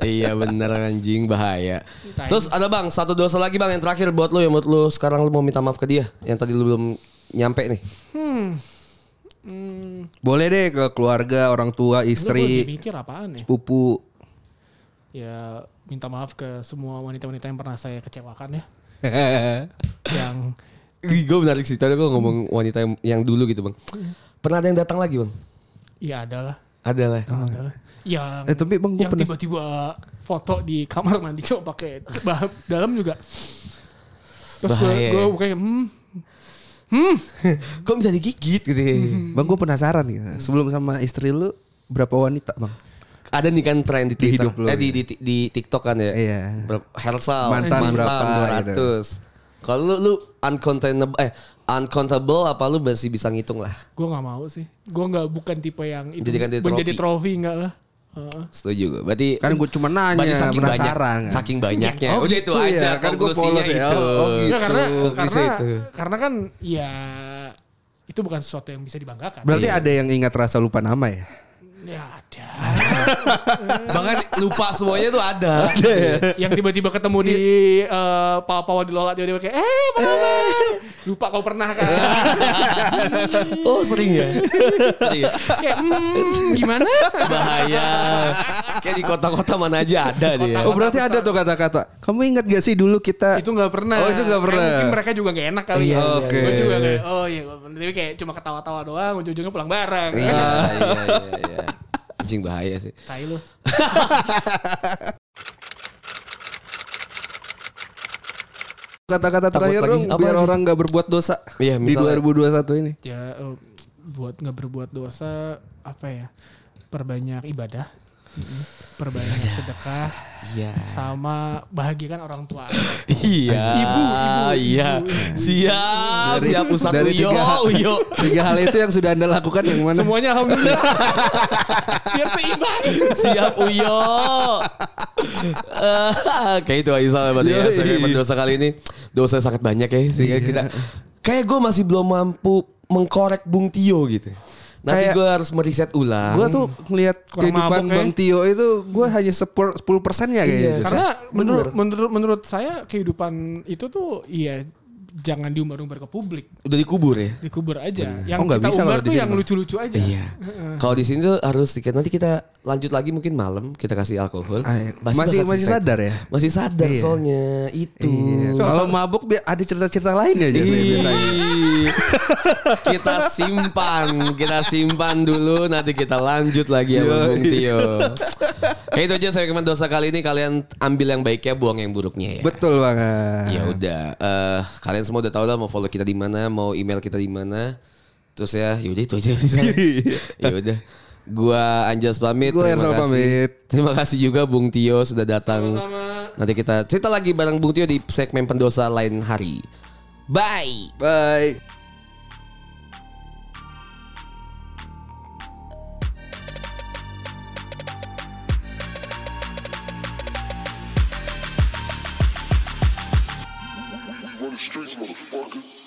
iya bener anjing bahaya terus ada bang satu dosa lagi bang yang terakhir buat lo yang buat lo sekarang lo mau minta maaf ke dia yang tadi lo belum nyampe nih
Hmm.
Boleh deh ke keluarga, orang tua,
Istri.
istri,
mikir apaan ya?
sepupu.
Ya minta maaf ke semua wanita-wanita yang pernah saya kecewakan ya. Yang
gue menarik sih tadi gue ngomong wanita yang, yang dulu gitu bang pernah ada yang datang lagi bang
ya adalah.
ada lah
Adalah. Yang
Eh, tapi Bang, gua
yang
penas-
tiba-tiba foto di kamar mandi coba pakai bah- dalam juga. Terus gue
Bahaya
gue
ya.
bukannya hmm
kok bisa digigit gitu ya?
Bang gue penasaran gitu. Sebelum sama istri lu berapa wanita bang?
ada nih kan tren di Twitter
hidup lo, ya.
eh, di, di, di TikTok kan ya
Iya.
Berapa- Hersal
Mantan berapa, gitu.
200 kalau lu, lu uncontainable eh uncontable apa lu masih bisa ngitung lah
gue nggak mau sih. Gue nggak bukan tipe yang itu
Menjadikan dia
menjadi trofi
trofi.
enggak lah. Heeh.
setuju gue berarti
Kan gue cuma nanya
berarti saking
penasaran.
banyak,
kan.
saking banyaknya
Oh,
udah
gitu
itu aja
ya. Kan gua
konklusinya
polos ya.
itu
Oh, oh, gitu.
Enggak, karena
Bisa
karena
itu.
karena kan ya itu bukan sesuatu yang bisa dibanggakan.
Berarti
Iya.
ada yang ingat rasa lupa nama ya?
Ya ada.
bahkan lupa semuanya tuh ada
yang tiba-tiba ketemu di eh, pawa-pawa di lola dia dia kayak eh apa kabar?" Lupa kau pernah kan.
oh sering ya Sering ya?
kayak hmm, gimana?
bahaya kayak di kota-kota mana aja ada dia
Oh berarti ada tuh kata-kata. Kamu ingat gak sih dulu kita?
itu nggak pernah.
Oh, itu nggak
Kayak
pernah.
Mungkin mereka juga nggak enak kali
Iya,
ya.
iya,
Oke.
Gue juga kayak oh iya gua bener." tapi kayak cuma ketawa-tawa doang ujung-ujungnya pulang bareng.
iya iya iya iya anjing bahaya sih
Tai lu.
Kata-kata
Takut
terakhir
lagi.
dong
Apa
biar
lagi?
orang gak berbuat dosa
Iya,
di
misalnya.
2021 ini.
Ya eh, buat nggak berbuat dosa apa ya? Perbanyak ibadah. Mm-mm. Perbanyak sedekah
iya
sama bahagiakan orang tua.
Iya.
Ibu, ibu,
Iya.
ibu, ibu.
Siap,
Dari-
siap Ustaz
dari
Uyo,
tiga-
Uyo.
Tiga hal itu yang sudah anda lakukan yang mana?
Semuanya alhamdulillah. Biar seimbang.
Siap Uyo. Eh, kayak itu Aisyah berarti ya.
Yoi.
Saya dapat dosa kali ini. Dosa sangat banyak ya sehingga kita kayak gue masih belum mampu mengkorek Bung Tio gitu. Nanti
Kayak-
gue harus meriset ulang.
Gue tuh ngelihat
Kurang
kehidupan
mabok ya.
Bang Tio itu gue hanya 10 persennya kayaknya. Iya. Jus.
Iya, Karena menurut menurut menurut saya kehidupan itu tuh iya jangan diumbar-umbar ke publik,
udah dikubur ya.
dikubur aja. Yang
Oh, nggak
kita
bisa
umbar
kalau di
tuh
sini,
yang
Bang.
lucu-lucu aja.
Iya. Kalau di sini tuh harus dikit. Nanti kita lanjut lagi mungkin malam kita kasih alkohol.
Ah, iya.
Pasti
Masih-
bakal
masih
cerita
sadar ya?
Masih sadar
Iya.
soalnya itu.
Hmm.
Iya. Kalau mabuk bi- ada cerita-cerita lain ya Jus,
Iya.
Ih,
biasanya.
kita simpan, kita simpan dulu nanti kita lanjut lagi ya Bang Bung Tio. Kayak itu aja saya kemarin dosa kali ini kalian ambil yang baiknya, buang yang buruknya ya.
Betul
Iya.
banget.
Ya udah, eh, kalian semua udah tahu lah mau follow kita di mana, mau email kita di mana. Terus ya, yaudah itu aja. ya udah. Gua Anjas pamit.
Gua
terima
Ersal
kasih.
pamit.
Terima kasih juga Bung Tio sudah datang. Nanti kita cerita lagi bareng Bung Tio di segmen pendosa lain hari. Bye.
Bye.
from the streets, motherfucker.